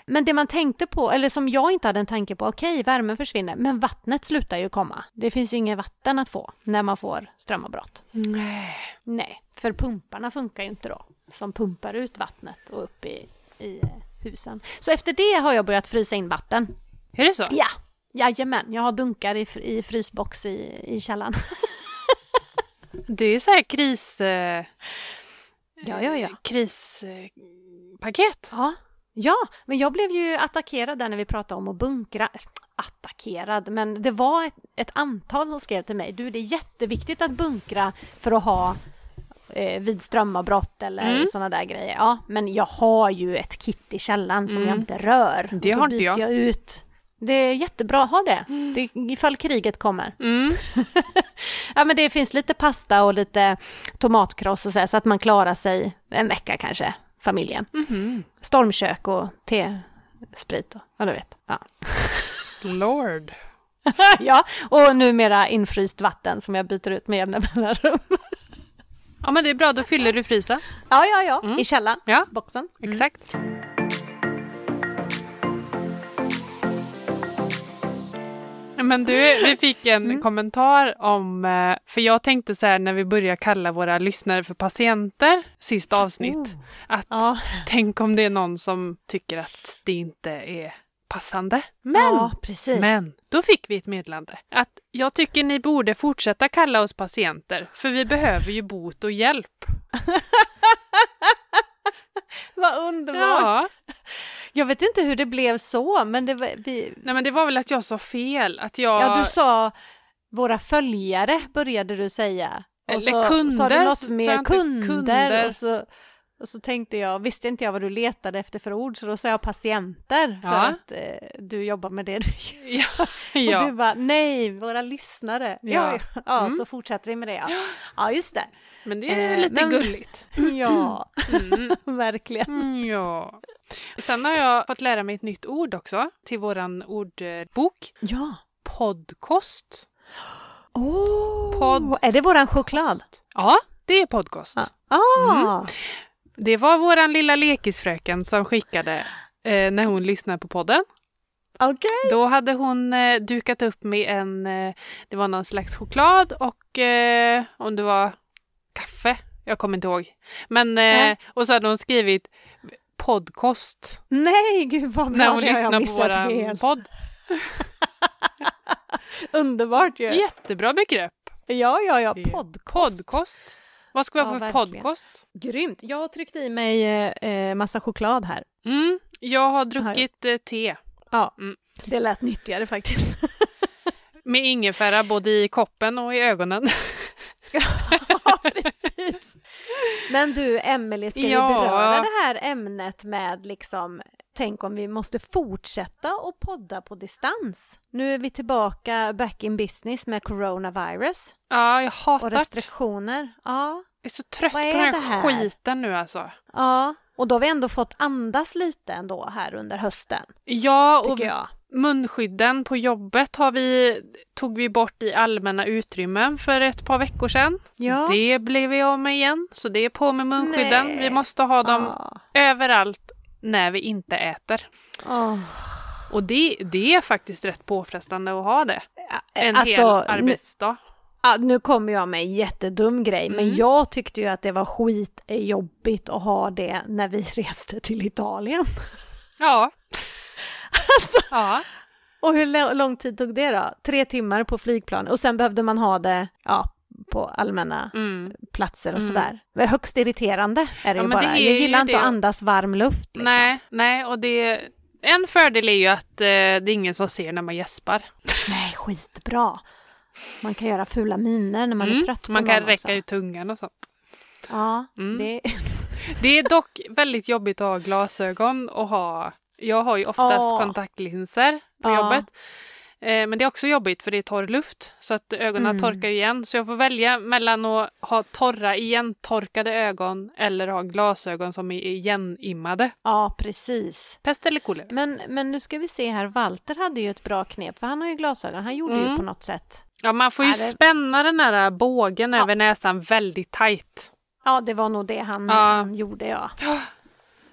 B: Men det man tänkte på, eller som jag inte hade en tanke på, okej, värmen försvinner, men vattnet slutar ju komma. Det finns ju inget vatten att få när man får strömavbrott.
A: Nej.
B: Nej, för pumparna funkar ju inte då, som pumpar ut vattnet och upp i, i eh, husen. Så efter det har jag börjat frysa in vatten.
A: Är det så?
B: Ja, jajamän, jag har dunkar i, fr- i frysbox i, i källaren.
A: Det är så här kris... Eh,
B: Ja, ja, ja.
A: Krispaket. Eh, paket.
B: Ja, ja, men jag blev ju attackerad där när vi pratade om att bunkra. Äh, Attackerad, men det var ett, ett antal som skrev till mig. Du, det är jätteviktigt att bunkra för att ha eh, vid strömavbrott eller
A: Mm.
B: sådana där grejer. Ja, men jag har ju ett kit i källaren som
A: Mm.
B: jag inte rör.
A: Det
B: och så
A: har inte
B: byter
A: jag.
B: jag ut. Det är jättebra att ha det, det ifall kriget kommer.
A: mm.
B: Ja, men det finns lite pasta och lite tomatkross och så, här, så att man klarar sig en vecka kanske, familjen
A: Mhm.
B: stormkök och te, sprit och ja, du vet. Ja.
A: Lord.
B: ja, och numera infryst vatten som jag byter ut med jämna mellanrum.
A: Ja, men det är bra. Då fyller du frysen.
B: ja, ja, ja,
A: Mm.
B: i källaren,
A: Ja,
B: boxen.
A: Mm. exakt. Men du, vi fick en
B: Mm.
A: kommentar om... eh, För jag tänkte så här när vi började kalla våra lyssnare för patienter, sist avsnitt, att
B: Oh. Ja,
A: tänk om det är någon som tycker att det inte är passande. Men
B: ja, precis.
A: Men då fick vi ett meddelande att jag tycker ni borde fortsätta kalla oss patienter för vi behöver ju bot och hjälp.
B: Vad underbart.
A: Ja,
B: Jag vet inte hur det blev så, men det var, vi,
A: nej men det var väl att jag sa fel. Att jag...
B: ja, du sa våra följare började du säga. Och Och
A: Eller
B: så
A: kunder,
B: sa du något
A: så- sa jag
B: mer
A: inte
B: kunder,
A: kunder.
B: Och, så, och så tänkte jag, visste inte jag vad du letade efter för ord så då sa jag patienter för
A: Ja.
B: att eh, du jobbar med det du gör.
A: Ja,
B: Och du
A: ja.
B: bara, nej, våra lyssnare. Ja,
A: Ja.
B: ja, ja så fortsätter vi med det. Ja, ja just det.
A: men det är
B: Eh,
A: lite
B: men-
A: gulligt.
B: Ja,
A: Mm.
B: verkligen.
A: Mm, ja. Sen har jag fått lära mig ett nytt ord också till våran ordbok.
B: Ja.
A: Podkost.
B: Oh,
A: Podd-
B: Är det våran choklad?
A: Ja, det är podcast.
B: Ah,
A: Mm. Det var våran lilla lekisfröken som skickade eh, när hon lyssnade på podden.
B: okej.
A: Då hade hon eh, dukat upp med en, eh, det var någon slags choklad och eh, om det var kaffe, jag kommer inte ihåg. Men, eh,
B: Nej.
A: och så hade hon skrivit podcast
B: Nej, gud vad
A: när
B: bra,
A: hon
B: det har jag
A: lyssnade på
B: missat
A: våran
B: helt.
A: podd.
B: Underbart ju.
A: Jättebra begrepp.
B: Ja, ja, ja,
A: Det är
B: podcast.
A: Podkost. Vad ska vi ha
B: Ja,
A: för
B: verkligen.
A: podkost?
B: Grymt. Jag har tryckt i mig eh, eh, massa choklad här.
A: Mm, jag har druckit eh, te
B: Ja,
A: Mm.
B: det lät nyttigare faktiskt.
A: med ingefära både i koppen och i ögonen.
B: ja, precis. Men du, Emelie, ska
A: Ja.
B: vi beröra det här ämnet med liksom, tänk om vi måste fortsätta och podda på distans? Nu är vi tillbaka back in business med coronavirus
A: Ja, jag
B: och
A: hatar det.
B: restriktioner. Ja,
A: Jag är så trött
B: Vad är
A: på den
B: det här?
A: här, skiten nu alltså.
B: ja. Och då har vi ändå fått andas lite ändå här under hösten,
A: Ja, och
B: tycker jag.
A: munskydden på jobbet har vi, tog vi bort i allmänna utrymmen för ett par veckor sedan.
B: Ja.
A: Det blev vi av med igen, så det är på med munskydden.
B: Nej. Ah.
A: Vi måste ha dem
B: Ja.
A: överallt när vi inte äter.
B: Åh.
A: Och det, det är faktiskt rätt påfrestande att ha det. En hel
B: Alltså, nu,
A: arbetsdag.
B: Ja, Ah, nu kommer jag med en jättedum grej, men jag tyckte ju att det var skitjobbigt att ha det när vi reste till Italien.
A: Ja.
B: Alltså.
A: ja.
B: Och hur lä- lång tid tog det då? Tre timmar på flygplan och sen behövde man ha det ja, på allmänna
A: Mm.
B: platser och sådär. Men högst irriterande är det
A: Ja,
B: ju
A: men
B: bara.
A: det är
B: jag
A: ju
B: gillar inte att
A: det.
B: andas varm luft. Liksom.
A: Nej, nej, och det... En fördel är ju att eh, det är ingen som ser när man gäspar.
B: Nej, skitbra. Man kan göra fula miner när man är
A: Mm,
B: trött på
A: Man kan
B: någon
A: räcka
B: också.
A: ut tungan och sånt.
B: Ja,
A: Mm.
B: det...
A: Det är dock väldigt jobbigt att ha glasögon och ha... Jag har ju oftast
B: Ja.
A: kontaktlinser på
B: Ja.
A: jobbet. Eh, men det är också jobbigt för det är torr luft så att ögonen
B: Mm.
A: torkar ju igen. Så jag får välja mellan att ha torra igentorkade ögon eller ha glasögon som är igenimmade.
B: ja, precis.
A: Pest eller kolera?
B: Men, men nu ska vi se här, Walter hade ju ett bra knep för han har ju glasögon, han gjorde ju
A: Mm.
B: på något sätt.
A: Ja, man får ju
B: Ja, det-
A: spänna den här bågen över näsan väldigt tajt.
B: Ja, det var nog det han,
A: Ja.
B: han gjorde ja.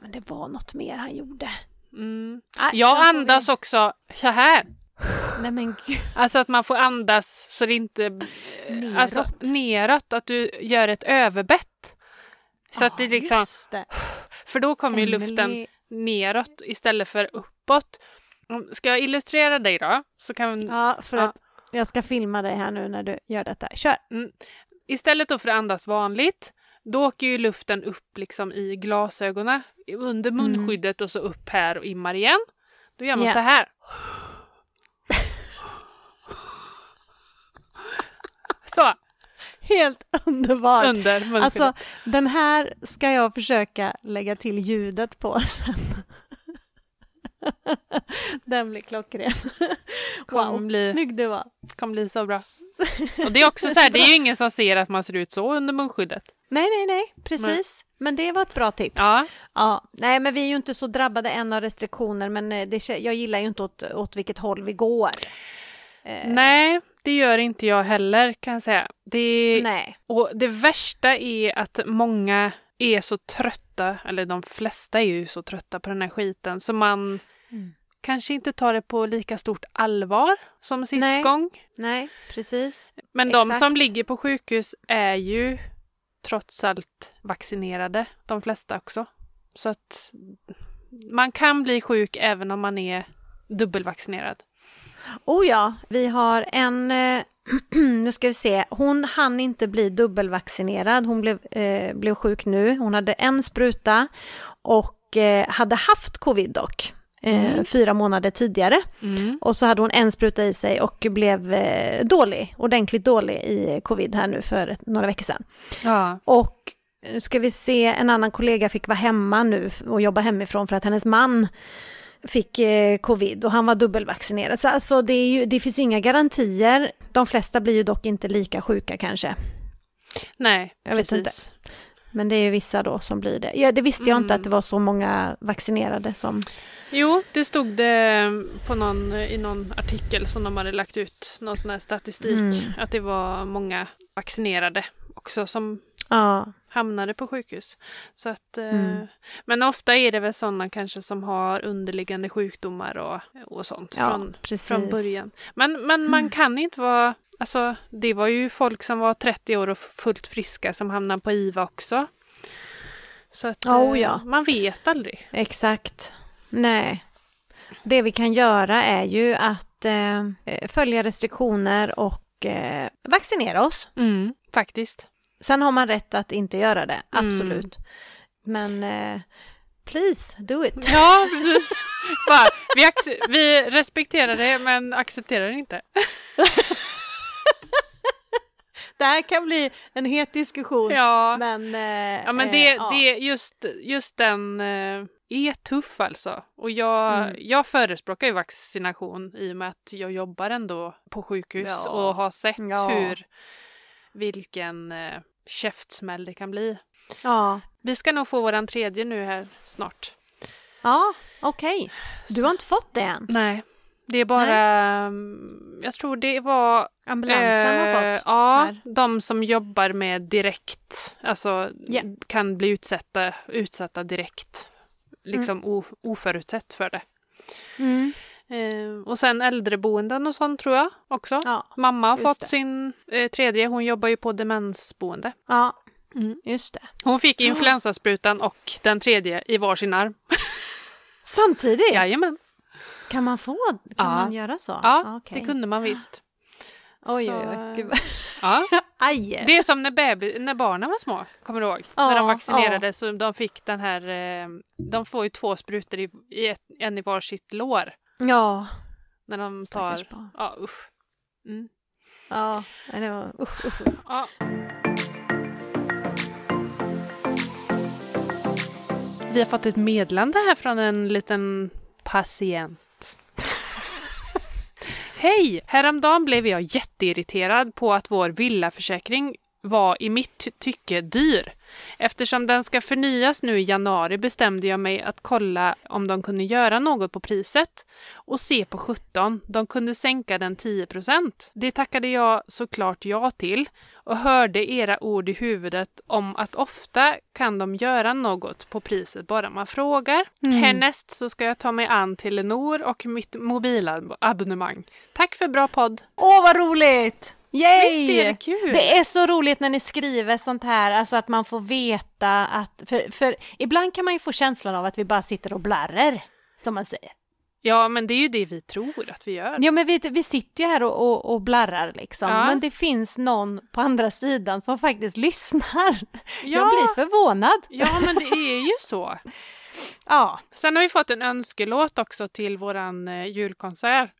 B: Men det var något mer han gjorde.
A: Mm.
B: Nej,
A: Jag
B: sen får
A: andas också så här.
B: Vi... Nej men gud.
A: Alltså att man får andas så det inte... eh,
B: Neråt.
A: Alltså neråt, att du gör ett överbett. Så att det
B: Ja,
A: liksom,
B: just det.
A: för då kommer ju luften
B: Emily-
A: neråt istället för uppåt. Mm, Ska jag illustrera dig då? Så kan,
B: Ja, för
A: Ja.
B: att jag ska filma dig här nu när du gör detta. Kör!
A: Istället då för att andas vanligt, då åker ju luften upp liksom i glasögonen, under munskyddet och så upp här och immar igen. Då gör
B: Mm.
A: man
B: Ja.
A: så här. Så,
B: Helt underbart!
A: under munskyddet.
B: Alltså, den här ska jag försöka lägga till ljudet på sen. den blir klockren.
A: Kommer
B: Wow,
A: bli-
B: snygg du var!
A: Det kommer bli så bra. Och det är också så här, det är ju ingen som ser att man ser ut så under munskyddet.
B: Nej, nej, nej, precis. Men det var ett bra tips.
A: Ja,
B: Ja, nej men vi är ju inte så drabbade än av restriktioner men eh, det, kä- jag gillar ju inte åt, åt vilket håll vi går. Eh.
A: nej, det gör inte jag heller kan jag säga. Det,
B: Nej.
A: Och det värsta är att många är så trötta, eller de flesta är ju så trötta på den här skiten, så man
B: Mm.
A: kanske inte tar det på lika stort allvar som sist
B: Nej.
A: gång.
B: Nej, precis.
A: Men de
B: Exakt.
A: som ligger på sjukhus är ju trots allt vaccinerade, de flesta också. Så att man kan bli sjuk även om man är dubbelvaccinerad.
B: Oh ja, vi har en, eh, nu ska vi se, hon hann inte bli dubbelvaccinerad, hon blev, eh, blev sjuk nu, hon hade en spruta och eh, hade haft covid dock eh,
A: Mm.
B: fyra månader tidigare.
A: Mm.
B: Och så hade hon en spruta i sig och blev eh, dålig, ordentligt dålig i eh, covid här nu för ett, några veckor sedan.
A: Ja.
B: Och eh, ska vi se, en annan kollega fick vara hemma nu f- och jobba hemifrån för att hennes man fick eh, covid och han var dubbelvaccinerad. Så alltså det, är ju, det finns ju inga garantier. De flesta blir ju dock inte lika sjuka kanske.
A: Nej,
B: Jag vet
A: precis.
B: inte. Men det är ju vissa då som blir det. Ja, det visste jag inte
A: Mm.
B: att det var så många vaccinerade som...
A: Jo, det stod det på någon, eh, i någon artikel som de hade lagt ut, någon sån här statistik,
B: Mm.
A: att det var många vaccinerade också som
B: Ja,
A: hamnade på sjukhus. Så att, eh,
B: Mm.
A: Men ofta är det väl sådana kanske som har underliggande sjukdomar och, och sånt
B: ja
A: från,
B: precis. Mm.
A: från början. Men, men man kan inte vara... Alltså, det var ju folk som var 30 år och fullt friska som hamnade på IVA också. Så att eh,
B: Oh, ja.
A: man vet aldrig.
B: Exakt. Nej. Det vi kan göra är ju att eh, följa restriktioner och eh, vaccinera oss.
A: Mm, faktiskt.
B: Sen har man rätt att inte göra det,
A: Mm.
B: absolut. Men eh, please, do it.
A: Ja, precis. Bara, vi, acce- vi respekterar det men accepterar det inte.
B: Det här kan bli en het diskussion.
A: Ja,
B: Men, eh,
A: ja men
B: eh,
A: det, det just, just den eh, är tuff alltså. Och jag,
B: Mm.
A: jag förespråkar ju vaccination i och med att jag jobbar ändå på sjukhus
B: Ja.
A: och har sett
B: Ja.
A: hur vilken eh, käftsmäll det kan bli.
B: Ja,
A: Vi ska nog få våran tredje nu här snart.
B: ja okej. Du har inte fått det än?
A: Nej, det är bara... mm, Jag tror det var
B: Ambulansen har
A: Eh,
B: fått?
A: Ja,
B: här.
A: de som jobbar med direkt, alltså
B: Ja.
A: kan bli utsatta, utsatta direkt. Liksom o, oförutsett för det.
B: Mm.
A: Eh, och sen äldreboenden och sånt tror jag också.
B: Ja,
A: Mamma har
B: just
A: fått
B: det.
A: sin eh, tredje, hon jobbar ju på demensboende.
B: ja.
A: Mm.
B: just det.
A: Hon fick influensasprutan och den tredje i varsin arm.
B: Samtidigt?
A: Jajamän,
B: Kan man få? Kan
A: Ja.
B: man göra så?
A: ja
B: okej.
A: det kunde man visst.
B: Oj,
A: Så,
B: oj, oj. Gud, vad-
A: Ja.
B: Aj!
A: Det är som när, baby, när barnen var små, kommer du ihåg?
B: Ja,
A: när de vaccinerades så de fick den här... eh, De får ju två sprutor i, i ett, en i varsitt lår
B: Ja,
A: när de tar...
B: stackars barn.
A: Ja, usch. Mm.
B: Ja, nej, det var, usch, usch.
A: Ja. Vi har fått ett meddelande här från en liten patient. Hej! Häromdagen blev jag jätteirriterad på att vår villaförsäkring var i mitt ty- tycke dyr. Eftersom den ska förnyas nu i januari bestämde jag mig att kolla om de kunde göra något på priset och se på 17. De kunde sänka den 10 Det tackade jag såklart ja till och hörde era ord i huvudet om att ofta kan de göra något på priset bara man frågar.
B: Mm.
A: Härnäst så ska jag ta mig an Telenor och mitt mobilabonnemang. Tack för bra podd!
B: Åh, vad roligt!
A: Visst är
B: Yay!
A: det kul?
B: Det är så roligt när ni skriver sånt här, alltså att man får veta att... För, för ibland kan man ju få känslan av att vi bara sitter och blarrar, som man säger.
A: Ja, men det är ju det vi tror att vi gör.
B: Ja, men vi, vi sitter ju här och, och, och blarrar liksom,
A: Ja.
B: men det finns någon på andra sidan som faktiskt lyssnar. Jag
A: Ja.
B: blir förvånad.
A: Ja, men det är ju så.
B: Ja,
A: Sen har vi fått en önskelåt också till våran eh, julkonsert.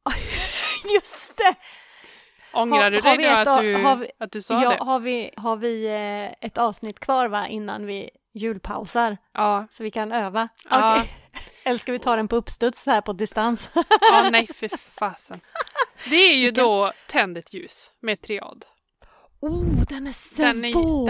B: just det!
A: Ångrar
B: Har-
A: du
B: har
A: dig
B: vi
A: nu
B: ett
A: att
B: av-
A: du,
B: har vi-
A: att du sa
B: Ja,
A: det?
B: har vi, har vi eh, ett avsnitt kvar va, innan vi julpausar?
A: Ja.
B: Så vi kan öva?
A: Ja.
B: Okej. Eller ska vi ta den på uppstuds så här på distans?
A: ja, nej för fasen. Det är ju då Tänd ett ljus med triad.
B: Oh, den är svår!
A: Den är,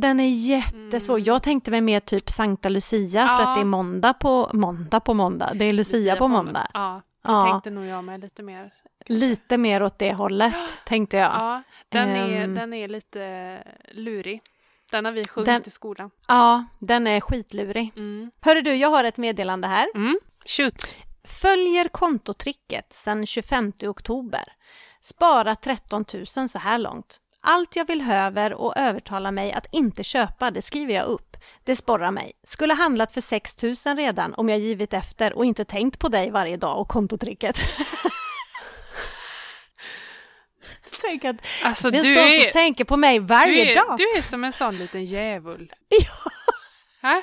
A: den är svår.
B: jättesvår. Jag tänkte mig mer typ Sankta Lucia för
A: Ja.
B: att det är måndag på måndag på måndag. Det är Lucia, på måndag.
A: Ja,
B: Ja,
A: tänkte nog jag med lite mer.
B: lite mer åt det hållet tänkte jag. Ja.
A: Ja, den, är,
B: Ehm.
A: den är lite lurig. Den har vi sjungit
B: Den-
A: i skolan.
B: den är skitlurig.
A: Mm.
B: Hörru du, jag har ett meddelande här.
A: Mm. Shoot.
B: Följer kontotricket sedan 25 oktober. Spara 13 000 så här långt. Allt jag vill höver och övertala mig att inte köpa, det skriver jag upp. Det sporrar mig. Skulle handlat för 6 000 redan om jag givit efter och inte tänkt på dig varje dag och kontotricket. Tänk att
A: Alltså
B: det finns
A: du
B: de som
A: är,
B: tänker på mig
A: du,
B: varje
A: är,
B: dag.
A: du är som en sån liten djävul.
B: Ja,
A: Hä?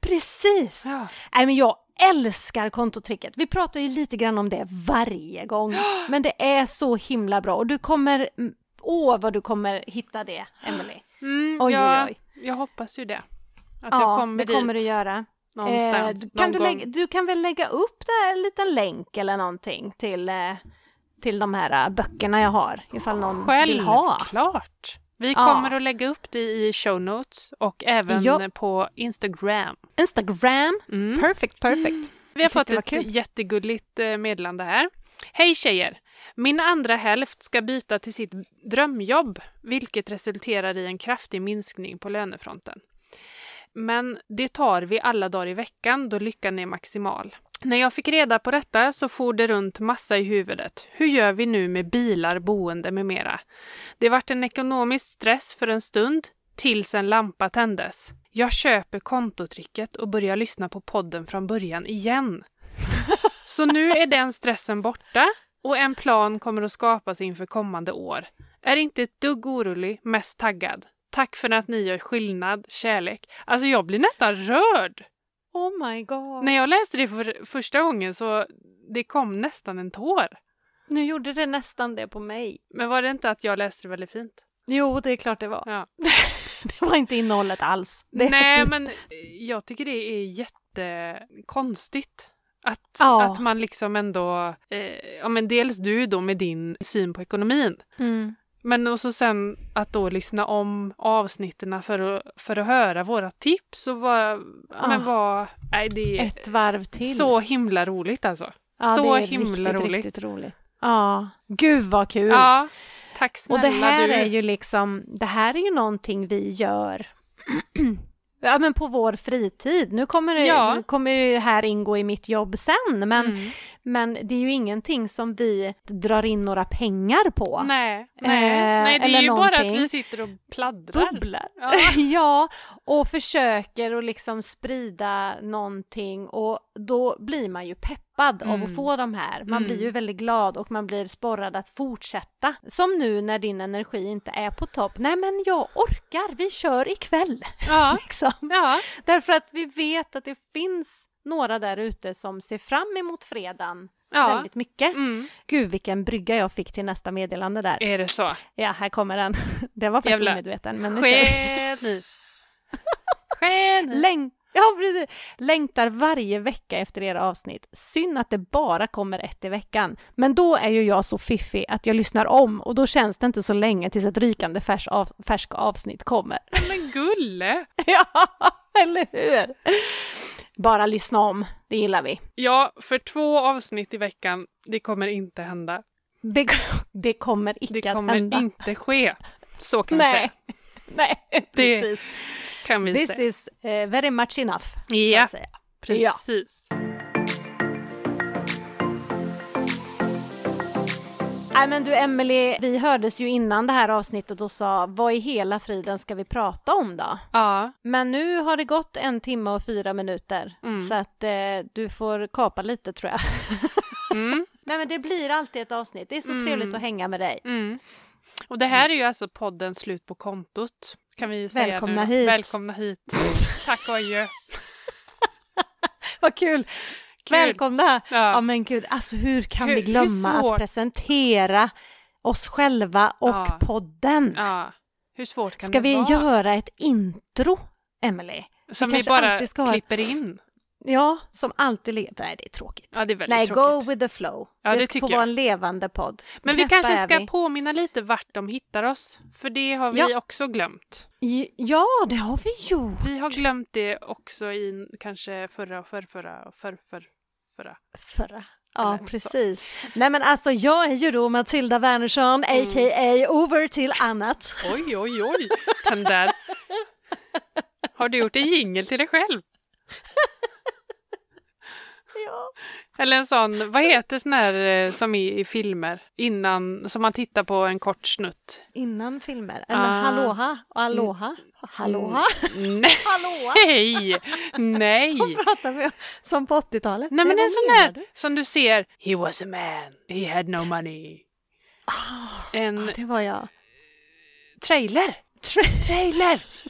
B: precis.
A: Ja.
B: Nej, men jag älskar kontotricket. Vi pratar ju lite grann om det varje gång, men det är så himla bra och du kommer, mm, åh vad du kommer hitta det, Emily.
A: Mm,
B: Oj,
A: jag,
B: oj,
A: jag hoppas ju det. Att jag
B: Ja,
A: kommer
B: det
A: dit
B: kommer du göra. Eh,
A: någonstans.
B: du-
A: någon
B: kan du,
A: gång.
B: lägga, du kan väl lägga upp där en liten länk eller någonting till, eh, till de här eh, böckerna jag har, ifall någon vill ha.
A: Självklart! Vi
B: Ja.
A: kommer att lägga upp det i show notes och även
B: Ja.
A: på Instagram.
B: Instagram,
A: Mm.
B: perfect, perfect.
A: Vi har
B: Jag tyckte
A: fått
B: det var
A: ett
B: kul.
A: jättegulligt eh, meddelande här. Hej tjejer! Min andra hälft ska byta till sitt drömjobb, vilket resulterar i en kraftig minskning på lönefronten. Men det tar vi alla dagar i veckan då lyckan är maximal. När jag fick reda på detta så for det runt massa i huvudet. Hur gör vi nu med bilar, boende med mera? Det vart en ekonomisk stress för en stund, tills en lampa tändes. Jag köper kontotricket och börjar lyssna på podden från början igen. Så nu är den stressen borta och en plan kommer att skapas inför kommande år. Är inte ett dugg orolig, mest taggad. Tack för att ni gör skillnad, kärlek. Alltså jag blir nästan rörd.
B: Oh my god.
A: När jag läste det för första gången så det kom nästan en tår.
B: Nu gjorde det nästan det på mig.
A: Men var det inte att jag läste det väldigt fint?
B: Jo, det är klart det var.
A: Ja.
B: det var inte innehållet alls. Det,
A: Nej, men eh, jag tycker det är jättekonstigt. Att,
B: Ja.
A: att man liksom ändå, eh, ja men dels du då med din syn på ekonomin,
B: Mm.
A: men också sen att då lyssna om avsnitten för att, för att höra våra tips och vad, ja, men
B: Ah.
A: vad, nej det är
B: Ett varv till.
A: så himla roligt alltså.
B: ja,
A: så
B: det är
A: himla
B: riktigt,
A: roligt.
B: Riktigt roligt. Ja, gud vad kul.
A: Ja, tack snälla
B: Och det här
A: du.
B: är ju liksom, det här är ju någonting vi gör ja, men på vår fritid. Nu kommer det,
A: Ja.
B: nu kommer det här ingå i mitt jobb sen, men,
A: Mm.
B: men det är ju ingenting som vi drar in några pengar på.
A: Nej,
B: Eh,
A: nej, nej, det är
B: eller
A: ju bara att
B: någonting.
A: vi sitter och pladdrar.
B: Bubblar.
A: Ja.
B: ja, och försöker att liksom sprida någonting och då blir man ju peppad av
A: Mm.
B: att få de här. Man
A: Mm.
B: blir ju väldigt glad och man blir sporrad att fortsätta. Som nu när din energi inte är på topp. Nej men jag orkar, vi kör ikväll.
A: Ja,
B: Liksom.
A: ja.
B: Därför att vi vet att det finns några där ute som ser fram emot fredagen
A: ja.
B: väldigt mycket.
A: Mm. Eh.
B: Gud vilken brygga jag fick till nästa meddelande där.
A: Är det så?
B: Ja, här kommer den. Den var faktiskt
A: Jävlar.
B: omedveten. Men nu kör vi.
A: Geni! Geni!
B: Läng ja, precis. Längtar varje vecka efter era avsnitt. Synd att det bara kommer ett i veckan. Men då är ju jag så fiffig att jag lyssnar om och då känns det inte så länge tills ett rykande färs av färska avsnitt kommer.
A: Men gulle!
B: ja, eller hur? Bara lyssna om, det gillar vi.
A: Ja, för två avsnitt i veckan, det kommer inte hända.
B: Det, det kommer icke
A: Det
B: att
A: kommer
B: hända.
A: inte ske. Så kan vi säga.
B: Nej. Nej,
A: Det-
B: precis.
A: Kan vi
B: This
A: säga.
B: is eh, very much enough, så
A: Ja.
B: att säga. ja.
A: Precis.
B: Nej men du Emelie, vi hördes ju innan det här avsnittet och sa vad i hela friden ska vi prata om då?
A: Ja.
B: Men nu har det gått en timme och fyra minuter
A: Mm.
B: så att eh, du får kapa lite tror jag.
A: Mm.
B: Nej men det blir alltid ett avsnitt, det är så
A: Mm.
B: trevligt att hänga med dig.
A: Mm. Och det här är ju alltså podden Slut på kontot. Kan vi ju säga
B: Välkomna
A: nu. då.
B: hit.
A: Välkomna hit. Tack och adjö.
B: Vad kul! Välkomna! Ja.
A: Ja.
B: men gud, alltså hur kan
A: Hur-
B: vi
A: hur
B: glömma att
A: svårt?
B: presentera oss själva och
A: Ja.
B: podden?
A: ja. Hur svårt kan
B: Ska
A: det
B: vi
A: vara?
B: göra ett intro, Emelie?
A: Som vi
B: kanske
A: bara
B: alltid ska ha-
A: klipper in.
B: Ja, som alltid. Le- Nej, det är tråkigt.
A: Ja, det är väldigt
B: Nej,
A: tråkigt.
B: go with the flow.
A: Ja, det
B: det ska
A: tycker
B: få
A: jag.
B: vara en levande podd.
A: Men vi
B: Knäppa
A: kanske
B: är
A: ska
B: vi.
A: påminna lite vart de hittar oss, för det har vi också glömt.
B: J- Ja, det har vi gjort.
A: Vi har glömt det också i kanske förra och förrförra och förrförra.
B: Förra. Ja,
A: Eller så.
B: precis. Nej, men alltså jag är ju då Matilda Wernersson, a.k.a. Over till annat.
A: Oj, oj, oj! Den där. Har du gjort en jingel till dig själv?
B: Ja.
A: Eller en sån, vad heter sån här eh, som är i filmer innan, som man tittar på en kort snutt?
B: Innan filmer. Eller
A: Ah.
B: Haloha och Aloha. Haloha?
A: Nej!
B: Haloha
A: Nej!
B: pratar vi om. Som på 80-talet.
A: Nej men
B: vad
A: en sån
B: menar
A: där
B: du?
A: som du ser, he was a man, he had no money. En
B: Ja, Ah. det var jag.
A: trailer.
B: Tra-
A: Trailer!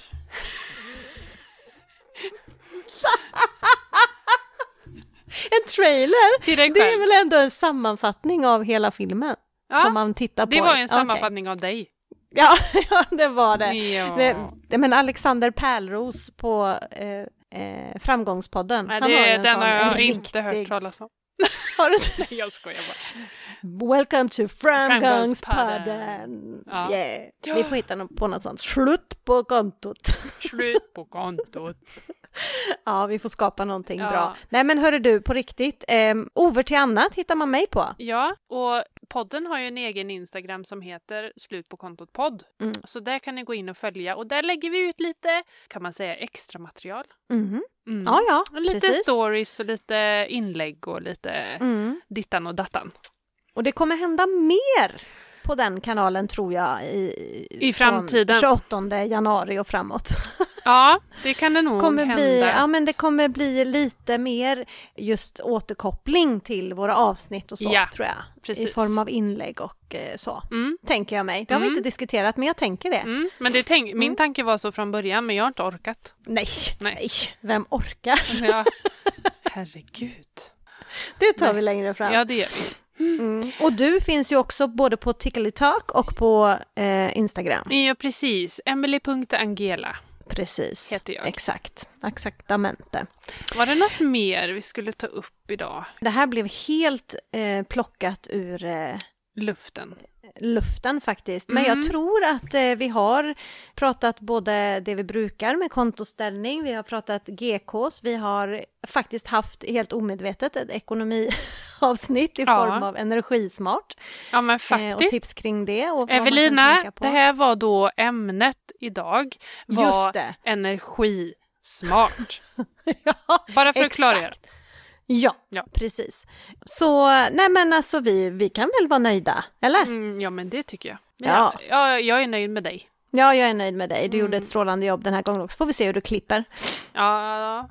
B: trailer.
A: Till dig
B: Det är
A: själv.
B: väl ändå en sammanfattning av hela filmen?
A: Ja,
B: som man tittar på.
A: det var ju
B: Okej.
A: en sammanfattning Mm. av dig.
B: Ja, ja, det var det.
A: Ja.
B: det men Alexander Pärlros på eh, eh, Framgångspodden.
A: Nej,
B: han har ju
A: det,
B: en
A: den
B: sån,
A: har
B: en
A: jag
B: riktig...
A: inte hört talas om.
B: Har du inte
A: Nej, jag skojar bara.
B: Welcome to Framgångspodden!
A: Framgångspodden. Ja.
B: Yeah.
A: Ja.
B: Vi får hitta nå- på något sånt. Slut på kontot!
A: Slut på kontot.
B: Ja, vi får skapa någonting
A: Ja.
B: bra. Nej men hörru du, på riktigt. Um, Over till annat hittar man mig på.
A: Ja, och podden har ju en egen Instagram som heter Slut på kontot podd.
B: Mm.
A: Så där kan ni gå in och följa och där lägger vi ut lite, kan man säga, extra material.
B: Mhm.
A: Mm.
B: Ja, ja,
A: Och lite
B: precis.
A: stories och lite inlägg och lite
B: Mm.
A: dittan och dattan.
B: Och det kommer hända mer på den kanalen tror jag i,
A: I
B: från
A: framtiden.
B: 28 januari och framåt.
A: Ja, det kan det nog
B: kommer
A: hända.
B: bli, ja, men det kommer bli lite mer just återkoppling till våra avsnitt och så
A: Ja,
B: tror jag. I
A: precis.
B: form av inlägg och eh, så.
A: Mm.
B: Tänker jag mig. Det har vi
A: Mm.
B: inte diskuterat men jag tänker det.
A: Mm. Men det tänk- min tanke var så från början, men jag har inte orkat.
B: Nej,
A: Nej.
B: nej, vem orkar?
A: Ja. Herregud.
B: Det tar
A: Nej.
B: vi längre fram.
A: Ja, det gör vi.
B: Mm. Och du finns ju också både på Tickly Talk och på eh, Instagram.
A: Ja, precis. Emily.angela.
B: Precis.
A: Heter jag.
B: Exakt. Exaktamente.
A: Var det något mer vi skulle ta upp idag?
B: Det här blev helt eh, plockat ur eh,
A: Luften.
B: luften faktiskt. Men
A: Mm.
B: jag tror att eh, vi har pratat både det vi brukar med kontoställning, vi har pratat GKs, vi har faktiskt haft helt omedvetet ett ekonomiavsnitt i
A: Ja.
B: form av energismart.
A: Ja, men
B: Eh, och
A: faktiskt.
B: tips kring det. Och vad man kan tänka
A: Evelina,
B: på.
A: det här var då ämnet idag. Var
B: Just det.
A: energismart.
B: Ja,
A: Bara för att klargöra.
B: exakt. Ja,
A: Ja.
B: precis. Så nej men alltså vi, vi kan väl vara nöjda, eller?
A: Mm, ja, men det tycker jag.
B: Ja.
A: Ja. Ja, jag är nöjd med dig.
B: Ja, jag är nöjd med dig. Du
A: Mm.
B: gjorde ett strålande jobb den här gången också. Får vi se hur du klipper.
A: Ja,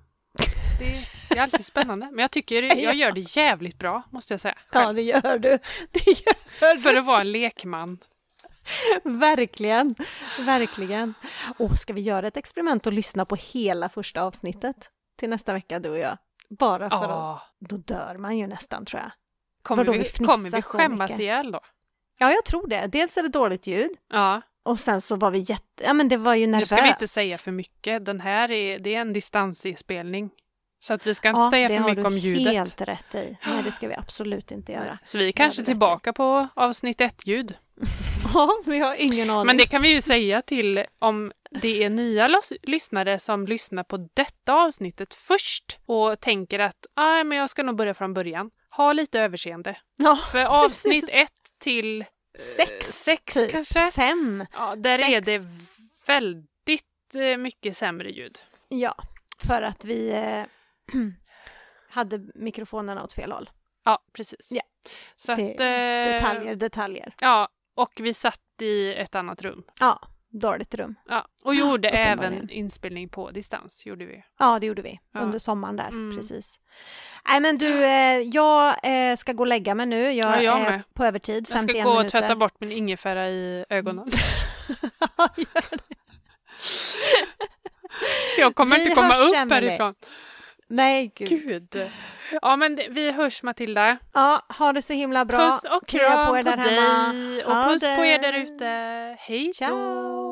A: det, det är alltid spännande. Men jag tycker jag gör det jävligt bra, måste jag säga.
B: Ja,
A: Själv.
B: det gör du. Det gör
A: För att vara en lekman.
B: Verkligen, verkligen. Och ska vi göra ett experiment och lyssna på hela första avsnittet till nästa vecka, du och jag? Bara för att,
A: Ja.
B: då dör man ju nästan tror jag.
A: Kommer
B: Vadå,
A: vi,
B: vi fnissar
A: kommer vi
B: så
A: skämmas
B: mycket?
A: ihjäl då?
B: Ja, jag tror det. Dels är det dåligt ljud
A: Ja,
B: och sen så var vi jätte, ja men det var ju
A: nu
B: nervöst.
A: ska vi inte säga för mycket. Den här är, det är en distansinspelning. Så att vi ska inte
B: ja,
A: säga
B: det
A: för
B: har
A: mycket
B: du
A: om ljudet.
B: helt rätt i. Nej, det ska vi absolut inte göra.
A: Så vi är
B: har du
A: kanske
B: rätt i.
A: tillbaka på avsnitt ett ljud.
B: Ja, vi har ingen aning.
A: Men det kan vi ju säga till om det är nya los- lyssnare som lyssnar på detta avsnittet först och tänker att "Aj, men jag ska nog börja från början. Ha lite överseende.
B: ja,
A: För avsnitt ett till eh,
B: sex,
A: sex
B: typ.
A: kanske?
B: Fem.
A: Ja, där är
B: Sex.
A: det väldigt eh, mycket sämre ljud.
B: Ja, för att vi eh, hade mikrofonerna åt fel håll.
A: Ja, precis.
B: Ja.
A: Så att,
B: Det-
A: eh,
B: Detaljer, detaljer.
A: Ja, och vi satt i ett annat rum.
B: Ja, dåligt rum.
A: Ja, och gjorde
B: Ah, uppenbarligen.
A: även inspelning på distans. Gjorde vi.
B: Ja, det gjorde vi
A: Ja.
B: under sommaren där,
A: Mm.
B: precis. Nej men du, eh, jag eh, ska gå och lägga mig nu. Jag,
A: Ja, jag
B: är
A: med.
B: på övertid,
A: Jag
B: 51
A: ska gå och
B: minuter.
A: tvätta bort min ingefära i ögonen. Jag kommer
B: Vi
A: inte komma
B: hörs,
A: upp
B: Emily.
A: härifrån.
B: Nej, gud.
A: Gud. Ja, men det, vi hörs Matilda.
B: Ja, ha det så himla bra.
A: Puss och
B: Krya
A: kram på,
B: er där
A: dig
B: hemma.
A: och
B: Ha
A: puss på
B: det.
A: er där ute. Hej då.
B: Ciao!